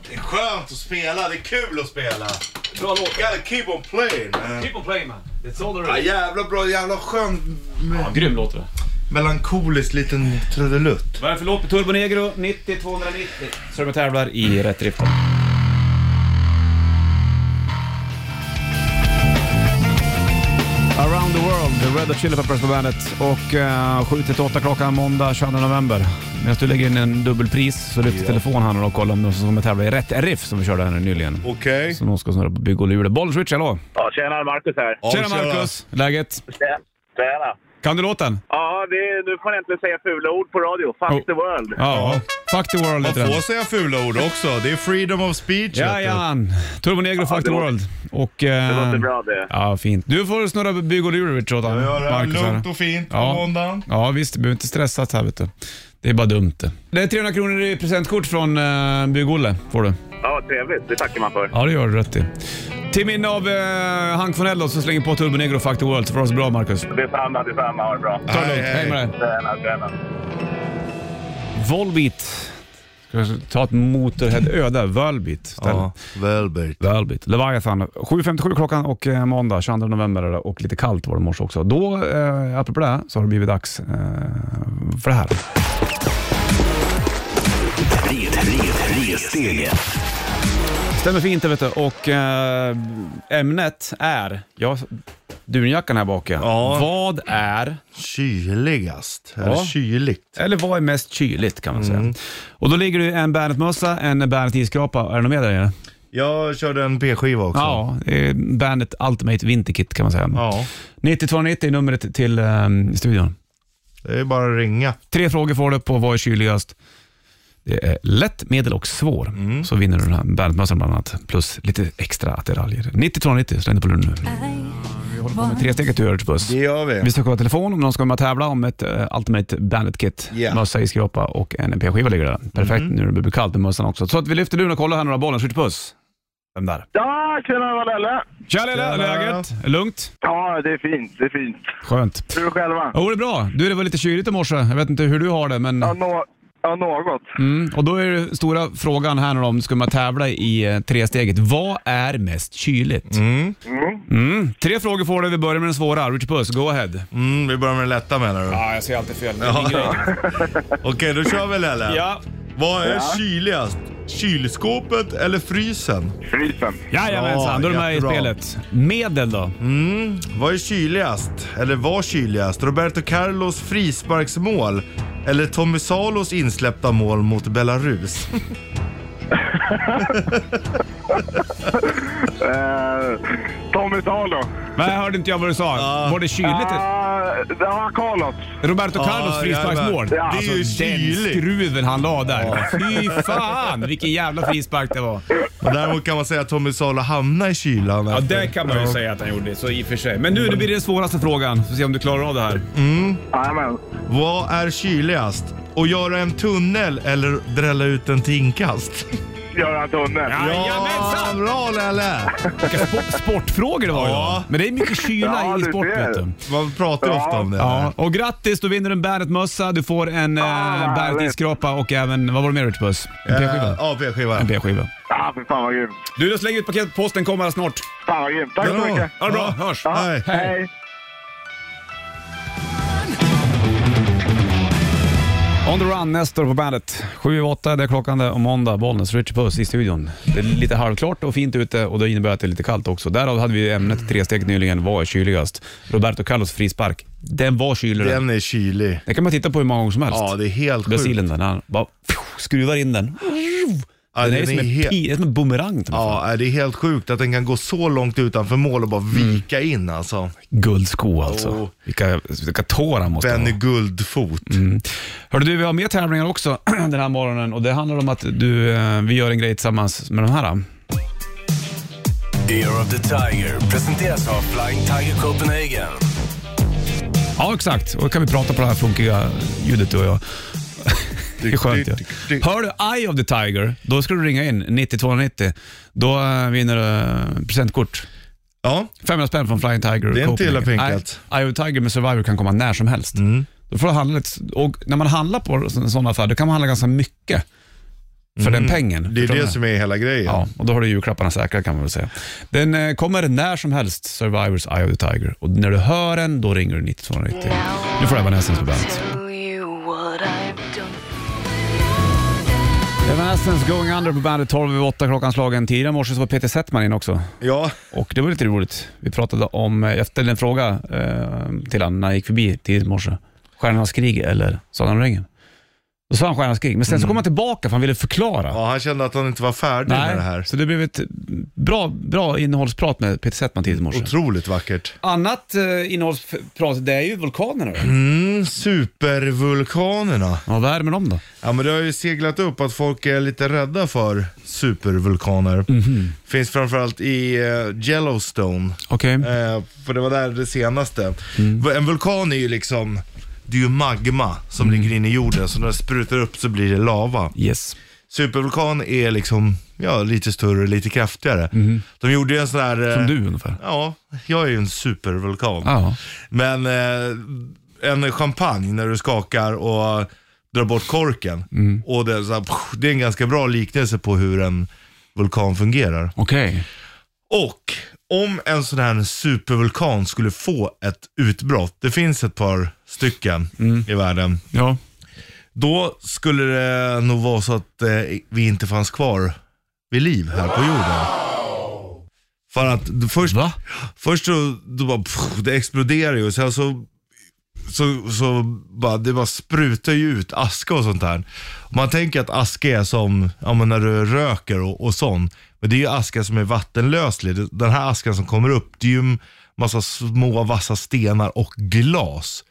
Speaker 3: Det är skönt att spela, det är kul att spela.
Speaker 2: Bra låt.
Speaker 3: Gotta keep on playing man.
Speaker 2: Keep on playing man. It's all there
Speaker 3: Ja,
Speaker 2: is.
Speaker 3: jävla bra, jävla skön
Speaker 2: Ja, grym låt det.
Speaker 3: melankolisk liten trudelutt.
Speaker 2: Varför låt på Turbo Negro 90-290? Så de tävlar i rätt rift. Around the World, The Red Hot Chili Peppers på bandet. Och eh, 7-8 klockan måndag 22 november. Medan du lägger in en dubbelpris så lyfter telefonen här och kollar om de som kommer tävla i rätt riff som vi körde här nu nyligen.
Speaker 3: Okej.
Speaker 2: Som någon ska snurra på bygg och lure. Bollswitch, hallå!
Speaker 6: Ja, tjena, Marcus här.
Speaker 3: Ja,
Speaker 2: Tjena Marcus! Läget?
Speaker 6: Tjena.
Speaker 2: Kan du låten?
Speaker 6: Ja, det är, nu får man äntligen säga fula ord på radio. Fuck the
Speaker 2: Oh.
Speaker 6: world.
Speaker 2: Ja. Fuck the world
Speaker 3: Man
Speaker 2: heter den.
Speaker 3: får säga fula ord också. Det är freedom of speech. vet du.
Speaker 2: Jajamän! Turbo Negro, Fuck
Speaker 6: låter-
Speaker 2: the World. Och, eh,
Speaker 6: Det låter bra det.
Speaker 2: Ja, fint. Du får snurra bygg och lure, Richard.
Speaker 3: Vi gör det här
Speaker 2: Marcus här.
Speaker 3: lugnt och fint på
Speaker 2: Ja.
Speaker 3: måndagen.
Speaker 2: Ja, visst. Du behöver inte stressa så här, vet du. Det är bara dumt det. Det är 300 kronor i presentkort från uh, Bygg-Olle, får du.
Speaker 6: Ja, trevligt. Det tackar man för.
Speaker 2: Ja, det gör du rätt i. Till minne av eh, Hank von Ellos så slänger på Turbo Negro Fuck the World, så får du ha så bra, Marcus.
Speaker 6: Detsamma, detsamma. Ha det bra.
Speaker 2: Ta det lugnt. Hej med dig.
Speaker 6: Tjena, tjena.
Speaker 2: Volbeat. Ska jag ta ett motorhead-öde? Volbeat istället.
Speaker 3: Ja, Velbert.
Speaker 2: Välbit. Leviathan. 7.57 klockan och eh, måndag 22 november är det och lite kallt var det i morse också. Då, eh, apropå det, här, så har det blivit dags eh, för det här.
Speaker 4: Steget.
Speaker 2: Stämmer fint det vet du och eh, ämnet är, ja, dunjackan här bak
Speaker 3: Ja.
Speaker 2: Vad är,
Speaker 3: Kyligast.
Speaker 2: Ja.
Speaker 3: Eller kyligt.
Speaker 2: eller vad är mest kyligt kan man säga.
Speaker 3: Mm.
Speaker 2: Och då ligger det ju en Bandet-mössa, en Bandet isskrapa. Är det något mer där nere?
Speaker 3: Jag körde en P-skiva också.
Speaker 2: Ja, det är Bandet Ultimate Vinterkit kan man säga.
Speaker 3: Ja.
Speaker 2: 9290 är numret till eh, studion.
Speaker 3: Det är bara att ringa.
Speaker 2: Tre frågor får du på vad är kyligast. Det är lätt, medel och svår. Så vinner du den här bandmössan bland annat. Plus lite extra attiraljer. 90-290, släng dig på luren nu. Vi håller på med tre steget till Örts buss.
Speaker 3: Det gör vi.
Speaker 2: Vi ska kolla telefon om någon ska vara med och tävla om ett eh, Ultimate Bandit Kit.
Speaker 3: Ja.
Speaker 2: Mössa i skrapa och en P-skiva ligger där. Perfekt nu när det börjar bli kallt med mössan också. Så att vi lyfter luren och kollar här några bollen. Skjut puss. Vem där?
Speaker 6: Ja, tjena, det var Lelle.
Speaker 2: Tja Lelle,
Speaker 3: Tjena.
Speaker 2: läget? Lugnt?
Speaker 6: Ja, det är fint. Det är fint.
Speaker 2: Skönt.
Speaker 6: Du själva?
Speaker 2: Jo, det är bra. Du, det var lite kyligt i morse. Jag vet inte hur du har det, men...
Speaker 6: Ja, nå- ja något.
Speaker 2: Mm, och då är den stora frågan här nu då, om du ska man tävla i eh, tresteget. Vad är mest kyligt? Mm, Tre frågor får du. Vi börjar med den svåra. Richard Puss, go ahead.
Speaker 3: Mm, vi börjar med det lätta menar du?
Speaker 2: jag säger alltid fel.
Speaker 3: Okej, då kör vi Lelle.
Speaker 2: Ja.
Speaker 3: Vad är kyligast? Kylskåpet eller frysen?
Speaker 6: Frysen.
Speaker 2: Jajamensan, då är du med i
Speaker 3: Jättebra. Mm.
Speaker 2: spelet. Medel då?
Speaker 3: Vad är kyligast? Eller var kyligast? Roberto Carlos frisparksmål? Eller Tommy Salos insläppta mål mot Belarus?
Speaker 6: Eh, Tommy Salo.
Speaker 2: Nej, hörde inte jag vad du sa. Var det kyligt?
Speaker 6: Ja, Eh, det var Carlos.
Speaker 2: Roberto Carlos
Speaker 3: ja,
Speaker 2: frisparksmål. Alltså,
Speaker 3: jävlar.
Speaker 6: Ja.
Speaker 3: Det är ju
Speaker 2: den
Speaker 3: kyligt.
Speaker 2: skruven han la där. Fy fan, vilken jävla frispark det var.
Speaker 3: Och däremot kan man säga att Tommy Salo hamnar i kylan.
Speaker 2: Ja,
Speaker 3: efter.
Speaker 2: det kan man ju
Speaker 3: Ja.
Speaker 2: säga att han gjorde, så i och för sig. Men nu, nu blir det den svåraste frågan. Får se om du klarar av det här.
Speaker 6: Jajamän.
Speaker 3: Vad är kyligast? Att göra en tunnel eller drälla ut en tinkast?
Speaker 6: Göran Tunnel.
Speaker 2: Jajamensan!
Speaker 3: bra Lelle!
Speaker 2: Vilka spo- sportfrågor det var idag.
Speaker 3: Ja.
Speaker 2: Men det är mycket kyla
Speaker 6: Ja,
Speaker 2: i
Speaker 6: du
Speaker 2: sport
Speaker 6: ser.
Speaker 2: vet du.
Speaker 3: Man pratar ju ofta om det.
Speaker 2: Ja, och grattis, du vinner en Bandet-mössa, du får en
Speaker 6: vad
Speaker 2: eh,
Speaker 6: härligt.
Speaker 2: Bandet-isskrapa och även, vad var det mer Rich Buss? En
Speaker 3: Eh,
Speaker 2: P-skiva?
Speaker 3: Ja, P-skiva.
Speaker 2: En P-skiva.
Speaker 6: Ja, för fan vad grymt.
Speaker 2: Du, då slänger vi ut paketet, posten kommer här snart.
Speaker 6: Fan vad grymt. Tack så
Speaker 3: Bra.
Speaker 6: mycket.
Speaker 2: Ha det bra, hörs!
Speaker 6: Ja,
Speaker 3: Hej.
Speaker 6: Hej.
Speaker 2: On the run, Nestor på bandet. 7-8, det är klockan det, och måndag, Bollnäs, Richard Puss i studion. Det är lite halvklart och fint ute och det innebär att det är lite kallt också. Därav hade vi ämnet tre steg nyligen, vad är kyligast? Roberto Carlos frispark, den var kyligare. Den...
Speaker 3: Den är kylig.
Speaker 2: Det kan man titta på hur många gånger som helst.
Speaker 3: Ja, det är helt sjukt.
Speaker 2: Brasilien där, när han bara pff, skruvar in den.
Speaker 3: Ja,
Speaker 2: den är,
Speaker 3: den
Speaker 2: som,
Speaker 3: är
Speaker 2: en
Speaker 3: helt-
Speaker 2: pi, det är som en bumerang. Ja.
Speaker 3: Ja, nej, det är helt sjukt att den kan gå så långt utanför mål och bara
Speaker 2: Mm.
Speaker 3: vika in alltså.
Speaker 2: Guldsko alltså.
Speaker 3: Oh.
Speaker 2: Vilka, vilka tår han måste
Speaker 3: Benny
Speaker 2: ha.
Speaker 3: Guldfot.
Speaker 2: Mm. Hörru du, vi har mer tävlingar också den här morgonen och det handlar om att du, eh, vi gör en grej tillsammans med de här.
Speaker 4: Ear of the Tiger presenteras av Flying Tiger Copenhagen.
Speaker 2: Ja, exakt. Och då kan vi prata på det här funkiga ljudet du och jag. Det är skönt ju. Hör du Eye of the Tiger, då ska du ringa in 9290. Då eh, vinner du eh, presentkort.
Speaker 3: Ja,
Speaker 2: 500 spänn från Flying Tiger.
Speaker 3: Det är inte illa
Speaker 2: Copenhagen.
Speaker 3: pinkat.
Speaker 2: Nej,
Speaker 3: Mm.
Speaker 2: Eye of the Tiger med Survivor kan komma när som helst. Då får du handla lite, och när man handlar på sådana affärer, då kan man handla ganska mycket. för den pengen.
Speaker 3: Mm. Det är
Speaker 2: Förstår du
Speaker 3: det som är hela grejen.
Speaker 2: Ja, och då har du julklapparna säkra kan man väl säga. Den eh, kommer när som helst, Survivors Eye of the Tiger. Och när du hör den, då ringer du 9290. Nu får du Evanescence på bandet. Evanescence Going Under på bandet 12 över 8 klockan slagen. Tidigare i morse så var Peter Settman in också.
Speaker 3: Ja. Och
Speaker 2: Och det var lite roligt. Vi pratade om, eh, jag ställde en fråga eh, till honom när jag gick förbi tidigt i morse. Stjärnornas krig eller Sagan om ringen? Då sa han Stjärnornas krig, men sen så kom han tillbaka för han ville förklara.
Speaker 3: han kände att han inte var färdig med det här.
Speaker 2: så det blev ett bra, bra innehållsprat med Peter Settman tidigt i morse.
Speaker 3: Otroligt vackert.
Speaker 2: Annat eh, innehållsprat, det är ju vulkanerna.
Speaker 3: Mm, supervulkanerna.
Speaker 2: Ja, vad är det med dem då?
Speaker 3: Ja, men det har ju seglat upp att folk är lite rädda för supervulkaner.
Speaker 2: Mhm.
Speaker 3: Finns framförallt i eh, Yellowstone.
Speaker 2: Okej.
Speaker 3: Eh, för det var där det senaste.
Speaker 2: Mm.
Speaker 3: En vulkan är ju liksom, det är ju magma som
Speaker 2: Mm.
Speaker 3: ligger inne i jorden. Så när det sprutar upp så blir det lava.
Speaker 2: Yes.
Speaker 3: Supervulkan är liksom, ja lite större, lite kraftigare. De gjorde ju en sån här... eh,
Speaker 2: Mhm. Som du ungefär.
Speaker 3: Ja, jag är ju en supervulkan.
Speaker 2: Ja.
Speaker 3: Men eh, en champagne när du skakar och drar bort korken.
Speaker 2: Mm.
Speaker 3: Och det, är så här, pff, det är en ganska bra liknelse på hur en vulkan fungerar.
Speaker 2: Okej.
Speaker 3: Och om en sån här supervulkan skulle få ett utbrott, det finns ett par stycken
Speaker 2: Mm.
Speaker 3: i världen.
Speaker 2: Ja.
Speaker 3: Då skulle det nog vara så att eh, vi inte fanns kvar vid liv här på jorden. För att d- först,
Speaker 2: Va?
Speaker 3: först så då bara, pff, det exploderar ju och sen så, så, så bara, det bara sprutar ju ut aska och sånt där. Man tänker att aska är som ja, men när du röker och, och sånt. Men det är ju aska som är vattenlöslig. Det- Den här askan som kommer upp, det är ju en massa små vassa stenar och glas.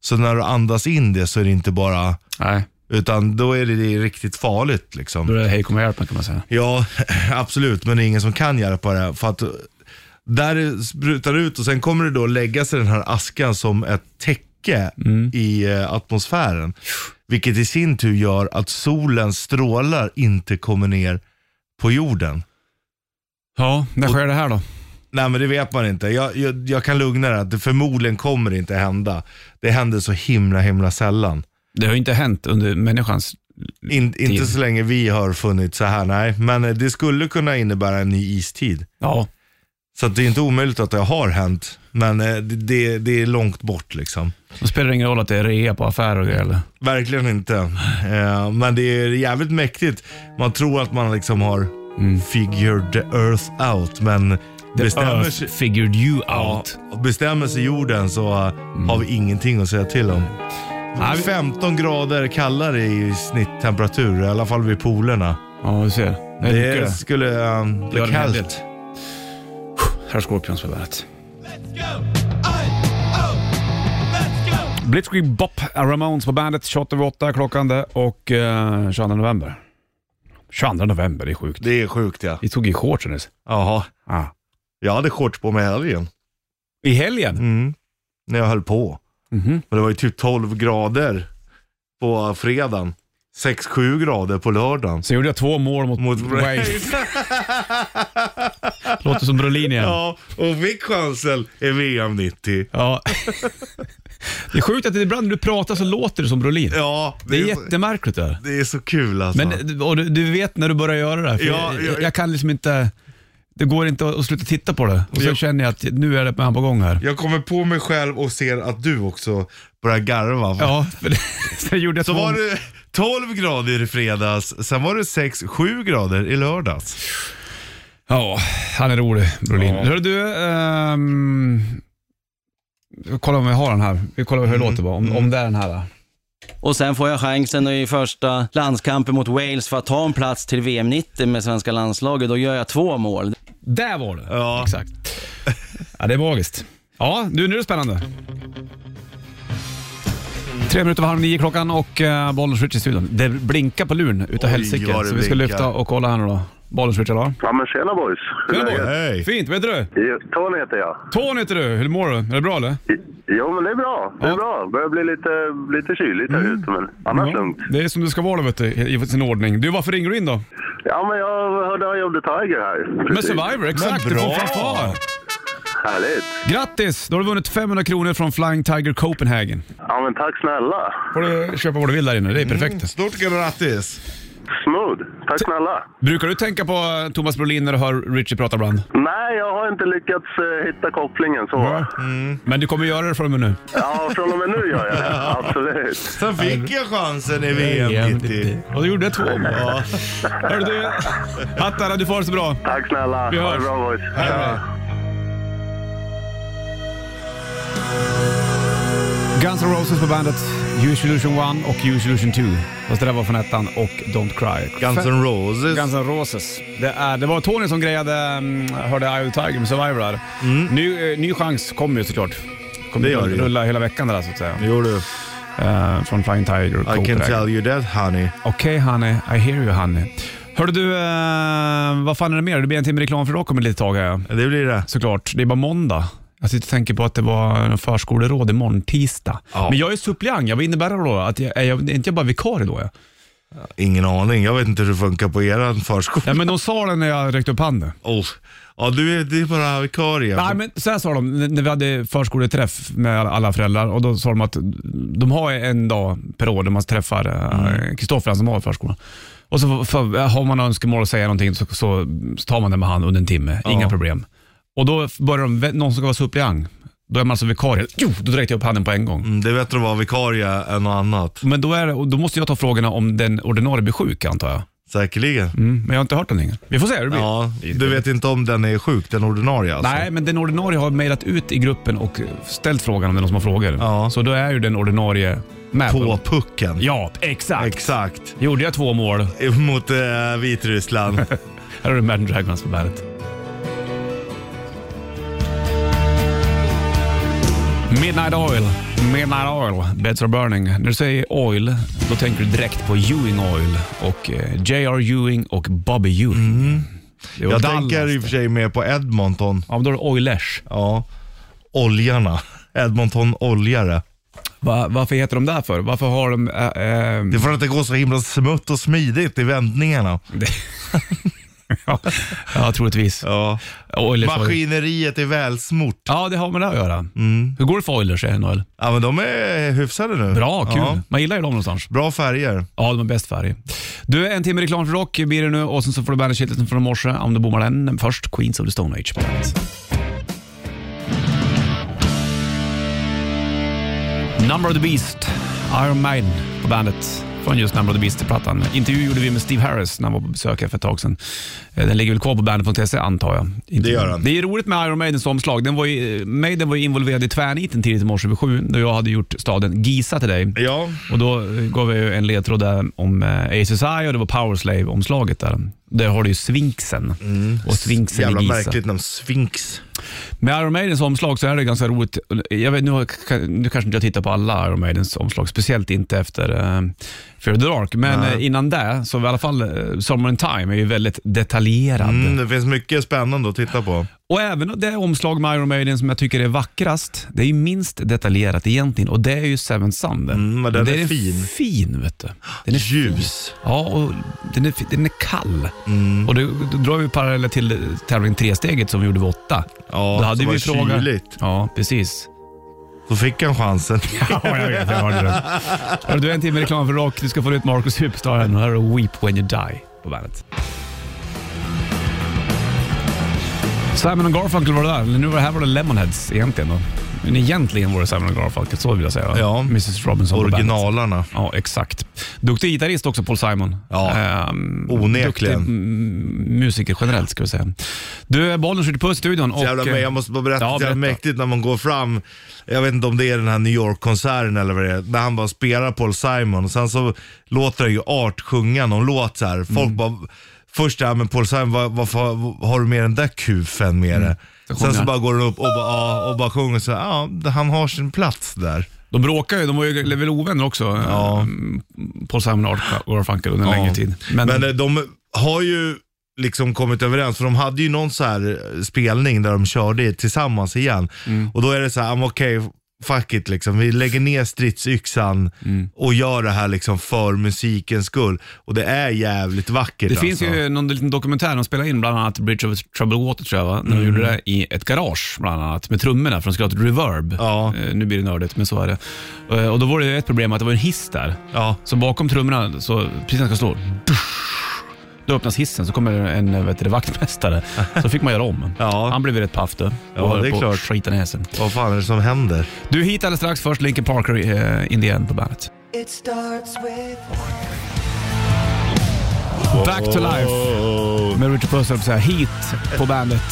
Speaker 3: Så när du andas in det så är det inte bara
Speaker 2: Nej,
Speaker 3: utan då är det riktigt farligt
Speaker 2: då
Speaker 3: liksom.
Speaker 2: är det hej kom och hjälp mig, kan man säga.
Speaker 3: Ja, absolut. Men det är ingen som kan hjälpa det. För att eh, där sprutar det ut och sen kommer det då lägga sig den här askan som ett täcke i eh, atmosfären. Vilket i sin tur gör att solens strålar inte kommer ner på jorden.
Speaker 2: Ja, när sker det här då?
Speaker 3: Nej men det vet man inte. Jag, jag, jag kan lugna dig att det förmodligen kommer inte hända. Det händer så himla himla sällan.
Speaker 2: Det har ju inte hänt under människans...
Speaker 3: In, inte
Speaker 2: Tid.
Speaker 3: så länge vi har funnits så här, nej. Men eh, det skulle kunna innebära en ny istid.
Speaker 2: Ja.
Speaker 3: Så att det är inte omöjligt att det har hänt, men eh, det, det, det är långt bort liksom.
Speaker 2: Då spelar det ingen roll att det är rea på affärer och grejer, eller?
Speaker 3: Verkligen inte. Eh, Men det är jävligt mäktigt. Man tror att man liksom har
Speaker 2: Mm.
Speaker 3: figured the earth out, men bestämmer sig,
Speaker 2: Earth figured you
Speaker 3: ja,
Speaker 2: out.
Speaker 3: bestämmer sig jorden så eh, har vi ingenting att säga till om.
Speaker 2: Nej, Mm. vi-
Speaker 3: 15 grader kallare i snitttemperatur, i alla fall vid polerna.
Speaker 2: Ja, du ser. Det är mycket
Speaker 3: Det
Speaker 2: det.
Speaker 3: skulle eh,
Speaker 2: Gör
Speaker 3: bli
Speaker 2: en hel
Speaker 3: kallt.
Speaker 2: Herr Scorpions på bandet. Blitzkrieg Bop, Ramones på bandet, 28.08 klockan det och eh, 22 november. 22 november, det är sjukt.
Speaker 3: Det är sjukt ja.
Speaker 2: Vi tog i shortsen nyss.
Speaker 3: Jaha,
Speaker 2: Ah.
Speaker 3: jag hade shorts på mig i helgen.
Speaker 2: I helgen?
Speaker 3: Mm. När jag höll på.
Speaker 2: Mhm.
Speaker 3: Men det var ju typ 12 grader på fredagen. 6-7 grader på lördagen.
Speaker 2: Så gjorde jag två mål mot,
Speaker 3: Mot
Speaker 2: Wales. Låter som Brolin igen. Ja.
Speaker 3: Ja, och fick chansen i VM 90.
Speaker 2: det är sjukt att det ibland när du pratar så låter du som Brolin.
Speaker 3: Ja,
Speaker 2: det, är
Speaker 3: så-
Speaker 2: jättemärkligt det där.
Speaker 3: det är så kul alltså.
Speaker 2: Men och du, du vet när du börjar göra det här, för
Speaker 3: Ja,
Speaker 2: jag,
Speaker 3: ja,
Speaker 2: jag,
Speaker 3: ja.
Speaker 2: kan liksom inte... Det går inte att att sluta titta på det. Och så
Speaker 3: Ja.
Speaker 2: känner jag att nu är det med på gång här.
Speaker 3: Jag kommer på mig själv och ser att du också börjar garva.
Speaker 2: Ja, för det, sen gjorde jag
Speaker 3: Så
Speaker 2: två-
Speaker 3: var det 12 grader i fredags, sen var det 6-7 grader i lördags.
Speaker 2: Ja, han är rolig, Brolin. Hör du, ehm, vi kollar om vi har den här. Vi kollar hur det
Speaker 3: Mm.
Speaker 2: låter bara, om, om det är den här. då.
Speaker 7: Och sen får jag chansen i första landskampen mot Wales för att ta en plats till VM 90 med svenska landslaget. Då gör jag två mål.
Speaker 2: Där var det!
Speaker 3: Ja.
Speaker 2: Exakt. Ja, det är magiskt. Ja, nu, nu är det spännande. Tre minuter över halv nio klockan och uh, Bollens Switch i studion. Det blinkar på luren utav
Speaker 3: Oj,
Speaker 2: helsike, så
Speaker 3: vad det
Speaker 2: vi ska
Speaker 3: blinkar.
Speaker 2: lyfta och kolla här nu då. Bollens Switch idag.
Speaker 8: Ja men tjena boys! Hur är
Speaker 2: Boll.
Speaker 3: Hej.
Speaker 2: Fint, vad heter du?
Speaker 8: det? Tony heter jag.
Speaker 2: Tony heter du. Hur mår du? Är det bra eller?
Speaker 8: Jo men det är bra. Det är
Speaker 2: Ja.
Speaker 8: bra. börjar bli lite, lite kyligt
Speaker 6: Mm.
Speaker 8: här ute men annars lugnt.
Speaker 2: Det är som du ska vara vet du, i i sin ordning. Du, varför ringer du in då?
Speaker 8: Ja men jag hörde Eye of the Tiger här.
Speaker 2: Med Survivor, exakt.
Speaker 3: Men
Speaker 2: Du får
Speaker 3: bra.
Speaker 2: fanfar.
Speaker 8: Härligt!
Speaker 2: Grattis! Då har du vunnit 500 kronor från Flying Tiger Copenhagen.
Speaker 8: Ja men tack snälla!
Speaker 3: Mm.
Speaker 2: får du köpa vad du vill där inne. Det är perfekt.
Speaker 3: Stort grattis.
Speaker 8: Smush! Varsågod. Tack snälla.
Speaker 2: Brukar du tänka på eh, Thomas Brolin när du hör Richie prata ibland?
Speaker 8: Nej, jag har inte lyckats eh, hitta kopplingen så.
Speaker 2: Men du kommer göra det från och med nu.
Speaker 8: Ja, från och med nu gör jag det. Absolut.
Speaker 3: Så fick jag chansen i VM 90.
Speaker 2: Och du gjorde två mål. Hörru du, Hattara, du får ha det så bra.
Speaker 8: Tack snälla.
Speaker 2: Vi
Speaker 8: Ha det
Speaker 2: hörs.
Speaker 8: bra boys.
Speaker 2: Guns N' Roses på bandet. Use Illusion 1 och Use Illusion 2. Fast det där var från ettan och Don't Cry.
Speaker 3: Guns N' Roses.
Speaker 2: Guns N' Roses. Det, är, det var Tony som grejade, mm, hörde Eye of the Tiger med Survivor där. Ny, eh, ny chans kommer ju såklart. Kommer
Speaker 3: Mm. Det gör det ju.
Speaker 2: rulla hela veckan det där så att säga.
Speaker 3: Jo du,
Speaker 2: Eh, från Flying Tiger och
Speaker 3: I
Speaker 2: Cooper
Speaker 3: can
Speaker 2: där.
Speaker 3: tell you that honey.
Speaker 2: Okej honey, I hear you honey. Hörru du, eh, vad fan är det mer? Det blir en timme reklam för rock om ett litet tag här.
Speaker 3: Det blir det.
Speaker 2: Såklart. Det är bara måndag. Jag sitter och tänker på att det var en förskoleråd imorgon, tisdag.
Speaker 3: Ja.
Speaker 2: Men jag är suppleant. Jag, vad innebär det då? Att jag, är, jag, är inte jag bara vikarie då? Jag?
Speaker 3: Ingen aning. Jag vet inte hur det funkar på eran förskola.
Speaker 2: Ja, men de sa det när jag räckte upp handen.
Speaker 3: Oh. Ja, du är, det är bara vikarie.
Speaker 2: Nej, men så här sa de när när vi hade förskoleträff med alla- alla föräldrar och då sa de att de har en dag per år där man träffar eh, Kristoffer, han som har förskolan. Och så för, har man önskemål att säga någonting så, så tar man det med han under en timme, inga problem. Och då börjar de, någon som ska vara suppleant, då är man alltså vikarie. Jo, då räckte jag upp handen på en gång.
Speaker 3: Mm, Det är bättre att vara vikarie än något annat.
Speaker 2: Men då, är, det- och då måste jag ta frågorna om den ordinarie blir sjuk antar jag.
Speaker 3: Säkerligen.
Speaker 2: Mm, men jag har inte hört någonting. Vi får se hur det blir.
Speaker 3: Ja, du vet inte om den är sjuk, den ordinarie alltså?
Speaker 2: Nej, men den ordinarie har mejlat ut i gruppen och ställt frågan om det är någon som har frågor.
Speaker 3: Ja.
Speaker 2: Så då är ju den ordinarie med.
Speaker 3: På pucken.
Speaker 2: Ja, exakt.
Speaker 3: Exakt.
Speaker 2: Gjorde jag två mål,
Speaker 3: Mot eh, Vitryssland.
Speaker 2: här har du Imagine Dragons på bandet. Midnight Oil, Midnight Oil, Beds Are Burning. När du säger oil, då tänker du direkt på Ewing Oil och eh, J.R. Ewing och Bobby Ewing. Det var
Speaker 3: Mhm. Jag
Speaker 2: Dallas
Speaker 3: tänker i och för sig mer på Edmonton.
Speaker 2: Ja, men då är det Oilers.
Speaker 3: Ja. Oljarna. Edmonton oljare.
Speaker 2: Va, varför heter de där för? Varför har de... Äh, äh,
Speaker 3: Det är för att det går så himla smutt och smidigt i vändningarna.
Speaker 2: ja, ja, troligtvis.
Speaker 3: Ja.
Speaker 2: Oilers har ju-
Speaker 3: Maskineriet är välsmort.
Speaker 2: Ja, det har med det att göra.
Speaker 3: Mm.
Speaker 2: Hur går det för Oilers i NHL?
Speaker 3: Ja, men de är hyfsade nu.
Speaker 2: Bra, kul.
Speaker 3: Ja.
Speaker 2: Man gillar ju dem någonstans.
Speaker 3: Bra färger.
Speaker 2: Ja, de har bäst färg. Du, en timme reklam för rock blir det nu och sen så får du bandet shitlisten från i morse om du bommar den. Men först Queens of the Stone Age på bandet. Number of the Beast, Iron Maiden på bandet från just Number of the Beast-plattan. Intervju gjorde vi med Steve Harris när han var på besök här för ett tag sedan. Eh, Den ligger väl kvar på bandet.se E, antar jag.
Speaker 3: Det gör den.
Speaker 2: Det är roligt med Iron Maidens omslag. Den var ju, eh, Maiden var ju involverad i tvärniten tidigt i morse vid sju då jag hade gjort staden Giza till dig.
Speaker 3: Ja.
Speaker 2: Och då eh, gav jag ju en ledtråd där om eh, ACSI och det var Powerslave-omslaget där. Där har du ju Svinksen.
Speaker 3: Mm.
Speaker 2: Mm. Och Svinksen
Speaker 3: Jävla
Speaker 2: i Giza.
Speaker 3: märkligt namn. Sphinx.
Speaker 2: Med Iron Maidens omslag så är det ganska roligt. Jag vet, nu, har, nu kanske inte jag tittar på alla Iron Maidens omslag, speciellt inte efter uh, Fear the Dark. Men eh, innan det, så i alla fall uh, Summer in Time är ju väldigt detaljerad.
Speaker 3: Mm, det finns mycket spännande att titta på.
Speaker 2: Och även det omslag med Iron Maiden som jag tycker är vackrast, det är ju minst detaljerat egentligen och det är ju Seven Sun.
Speaker 3: Mm, men den är fin.
Speaker 2: fin, vet du. Den är
Speaker 3: Ljus. Mm.
Speaker 2: Ja, och den är, den är kall. Och då, då drar vi paralleller till tävling tre-steget som vi gjorde vid åtta.
Speaker 3: Ja,
Speaker 2: då
Speaker 3: som
Speaker 2: hade
Speaker 3: var
Speaker 2: vi frågan.
Speaker 3: kyligt.
Speaker 2: Ja, precis.
Speaker 3: Då fick han chansen.
Speaker 2: Ja, jag vet. Jag hörde det. Hörru, Du är en timme reklam för rock. Du ska få ut Marcus Superstar här. Nu Här är Weep When You Die på bandet. Simon och Garfunkel var det där. Eller Nu var det här var det Lemonheads egentligen då. Men egentligen var det Simon och Garfunkel, så vill jag säga.
Speaker 3: Ja.
Speaker 2: Mrs Robinson på bandet.
Speaker 3: Originalarna.
Speaker 2: Ja, exakt. Duktig gitarrist också, Paul Simon.
Speaker 3: Ja,
Speaker 2: Ehm,
Speaker 3: onekligen.
Speaker 2: Duktig mm, musiker generellt, ska vi säga. Du, bollen skjuter på i studion och... eh,
Speaker 3: Jävla, men jag måste bara berätta,
Speaker 2: Ja,
Speaker 3: ja,
Speaker 2: berätta.
Speaker 3: jävla mäktigt när man går fram. Jag vet inte om det är den här New York-konserten eller vad det är. När han bara spelar Paul Simon och sen så låter det ju Art sjunga någon låt så här. Folk
Speaker 2: Mm.
Speaker 3: bara, först det här med Paul Simon, var, varför har du med den där kufen med dig?
Speaker 2: Mm. sjunger
Speaker 3: Sen så
Speaker 2: han.
Speaker 3: bara går han upp och bara, ja, och bara sjunger så här, ja, han har sin plats där.
Speaker 2: De bråkar ju, de var ju väl ovänner också, ehm, Paul Simon och Art Garfunkel under en längre tid. Men,
Speaker 3: Men eh, de har ju liksom kommit överens, för de hade ju någon så här eh, spelning där de körde tillsammans igen.
Speaker 2: Mm.
Speaker 3: Och då är det så här, "Ah, okej, fuck it liksom. Vi lägger ner stridsyxan
Speaker 2: Mm.
Speaker 3: och gör det här liksom för musikens skull. Och det är jävligt vackert
Speaker 2: det
Speaker 3: alltså.
Speaker 2: finns ju någon liten dokumentär de spelade in, bland annat Bridge of Troubled Water tror jag, va? när de
Speaker 3: Mm.
Speaker 2: gjorde det i ett garage bland annat, med trummorna från skrattet Reverb.
Speaker 3: Ja.
Speaker 2: Eh, nu blir det nördigt, men så är det. Eh, och då var det ju ett problem att det var en hiss där.
Speaker 3: Ja.
Speaker 2: Så bakom trummorna, så precis när jag ska slå, Då öppnas hissen så kommer en eh, vet du, vaktmästare. Så fick man göra om.
Speaker 3: Ja.
Speaker 2: Han blev rätt paff du.
Speaker 3: Ja,
Speaker 2: Och höll
Speaker 3: det är
Speaker 2: på
Speaker 3: klart.
Speaker 2: att skita ner sig.
Speaker 3: Vad fan är det som händer?
Speaker 2: Du hit alldeles strax. Först Linkin Parker, eh, In the End på bandet. Back to life med Richard Puss, höll jag på att säga. Hit på bandet.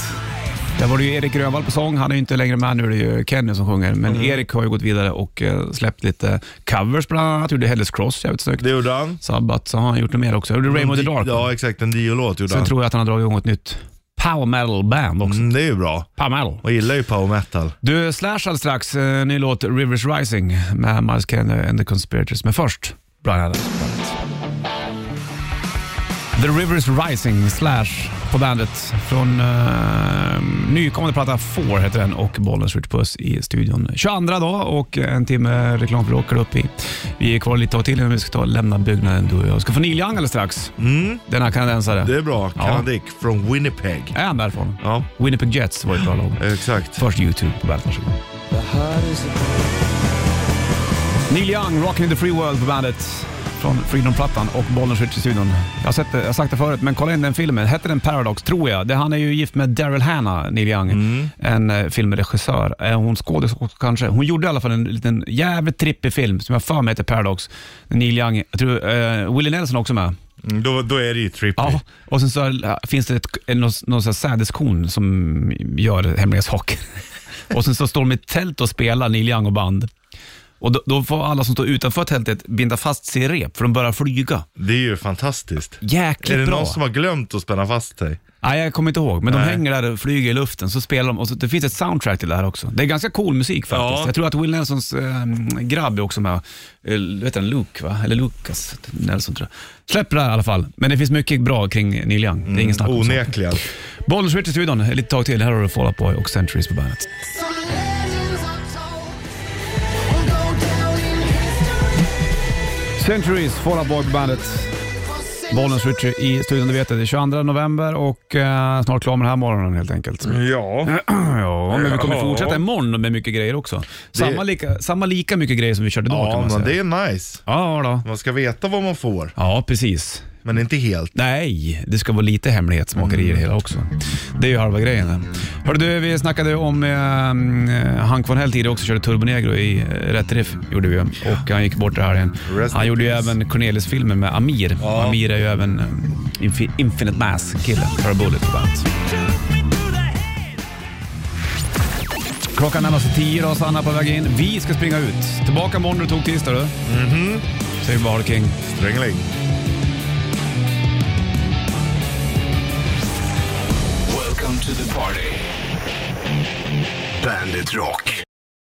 Speaker 2: Där var det ju Erik Rönnvall på sång. Han är ju inte längre med, nu är det ju Kenny som sjunger. Men
Speaker 3: Mm.
Speaker 2: Erik har ju gått vidare och eh, släppt lite covers bland annat. Gjorde Hell's Cross jävligt snyggt.
Speaker 3: Det gjorde han.
Speaker 2: Sabbat, så har han gjort något mer också. Gjorde Rainbow the Dark.
Speaker 3: Ja, exakt. En Dio-låt gjorde
Speaker 2: Sen
Speaker 3: han.
Speaker 2: tror jag att han har dragit igång ett nytt power metal band också.
Speaker 3: Mm, det är ju bra.
Speaker 2: Power metal.
Speaker 3: Man gillar ju power metal.
Speaker 2: Du, Slash alldeles strax. eh, Ny låt Rivers Rising med Miles Kennedy and the Conspirators. Men först Brian Adams på bandet. The Rivers Rising, Slash på bandet från eh, nykommande platta Four heter den och bollen skjuter puss i studion 22 dag och en timme reklam för åker upp i. Vi är kvar lite tag till innan vi ska ta och lämna byggnaden du och jag. Ska få Neil Young alldeles strax.
Speaker 3: Mm,
Speaker 2: Denna kanadensare.
Speaker 3: det är bra.
Speaker 2: Ja.
Speaker 3: Kanadick från Winnipeg.
Speaker 2: Är han därifrån?
Speaker 3: Ja,
Speaker 2: Winnipeg Jets var ett bra lag.
Speaker 3: exakt.
Speaker 2: Först YouTube på bandet, varsågod. Neil Young, Rockin' in the Free World på bandet. Från Freedom-plattan och Bollnäs i studion. Jag har, sett det, jag har sagt det förut, men kolla in den filmen. Hette den Paradox, tror jag. Det, han är ju gift med Daryl Hannah, Neil Young. En eh, filmregissör. Är hon skådis också kanske? Hon gjorde i alla fall en liten jävligt trippig film som jag för mig heter Paradox. Neil Young, jag tror eh, Willie Nelson också med.
Speaker 3: Mm, Då, då är det ju trippy.
Speaker 2: Ja, och sen så finns det ett, någon, någon sån här sädeskorn som gör hemliga saker. och sen så står de i ett tält och spelar Neil Young och band. Och då, då får alla som står utanför tältet binda fast sig i rep, för de börjar flyga.
Speaker 3: Det är ju fantastiskt.
Speaker 2: Jäkligt
Speaker 3: Är det
Speaker 2: bra.
Speaker 3: någon som har glömt att spänna fast sig?
Speaker 2: Nej, jag kommer inte ihåg, men de
Speaker 3: Nej.
Speaker 2: hänger där och flyger i luften, så spelar de. Och så, det finns ett soundtrack till det här också. Det är ganska cool musik faktiskt.
Speaker 3: Ja.
Speaker 2: Jag tror att Will Nelsons eh, grabb är också med. Eh, vet han, Luke, va? Eller Lucas Nelson tror jag. Släpper det här i alla fall. Men det finns mycket bra kring Neil Young. Det är
Speaker 3: Mm.
Speaker 2: ingen snack om saken.
Speaker 3: Onekligen.
Speaker 2: Bollen skjuter i studion. Ett litet tag till. Här har du Fall Out Boy och Centuries på bandet. Centuries, Fall Out Boy på bandet. Bollen skjuter i studion, du vet det. Det är 22 november och eh, snart klar med den här morgonen helt enkelt.
Speaker 3: Ja.
Speaker 2: Ja, men vi kommer
Speaker 3: Mm. Ja.
Speaker 2: fortsätta imorgon med mycket grejer också. Samma, lika, samma lika mycket grejer som vi körde idag kan
Speaker 3: Ja,
Speaker 2: man
Speaker 3: men
Speaker 2: säga.
Speaker 3: det är nice.
Speaker 2: Ja, då.
Speaker 3: Man ska veta vad man får,
Speaker 2: ja, precis.
Speaker 3: men inte helt.
Speaker 2: Nej, det ska vara lite hemlighetsmakeri
Speaker 3: Mm,
Speaker 2: i det hela också. Det är ju halva grejen. Hörru du, vi snackade om eh, Hank von Hell tidigare också, körde Turbo Negro i eh, Rätt Riff, gjorde vi ju. Och han gick bort det här igen.
Speaker 3: Rest
Speaker 2: Han
Speaker 3: in
Speaker 2: gjorde ju
Speaker 3: peace.
Speaker 2: även Cornelis-filmen med Amir.
Speaker 3: Ja.
Speaker 2: Amir är ju även eh, Infi- Infinite Mass-killen, Pearl Bullet på bandet. Klockan närmar sig tio då, Sanna på väg in. Vi ska springa ut. Tillbaka imorgon, du tog tisdag du. Mm-hmm.
Speaker 3: Mhm.
Speaker 2: Säger vi bara King.
Speaker 3: Strängeling.
Speaker 1: Welcome to the party. Bandit Rock.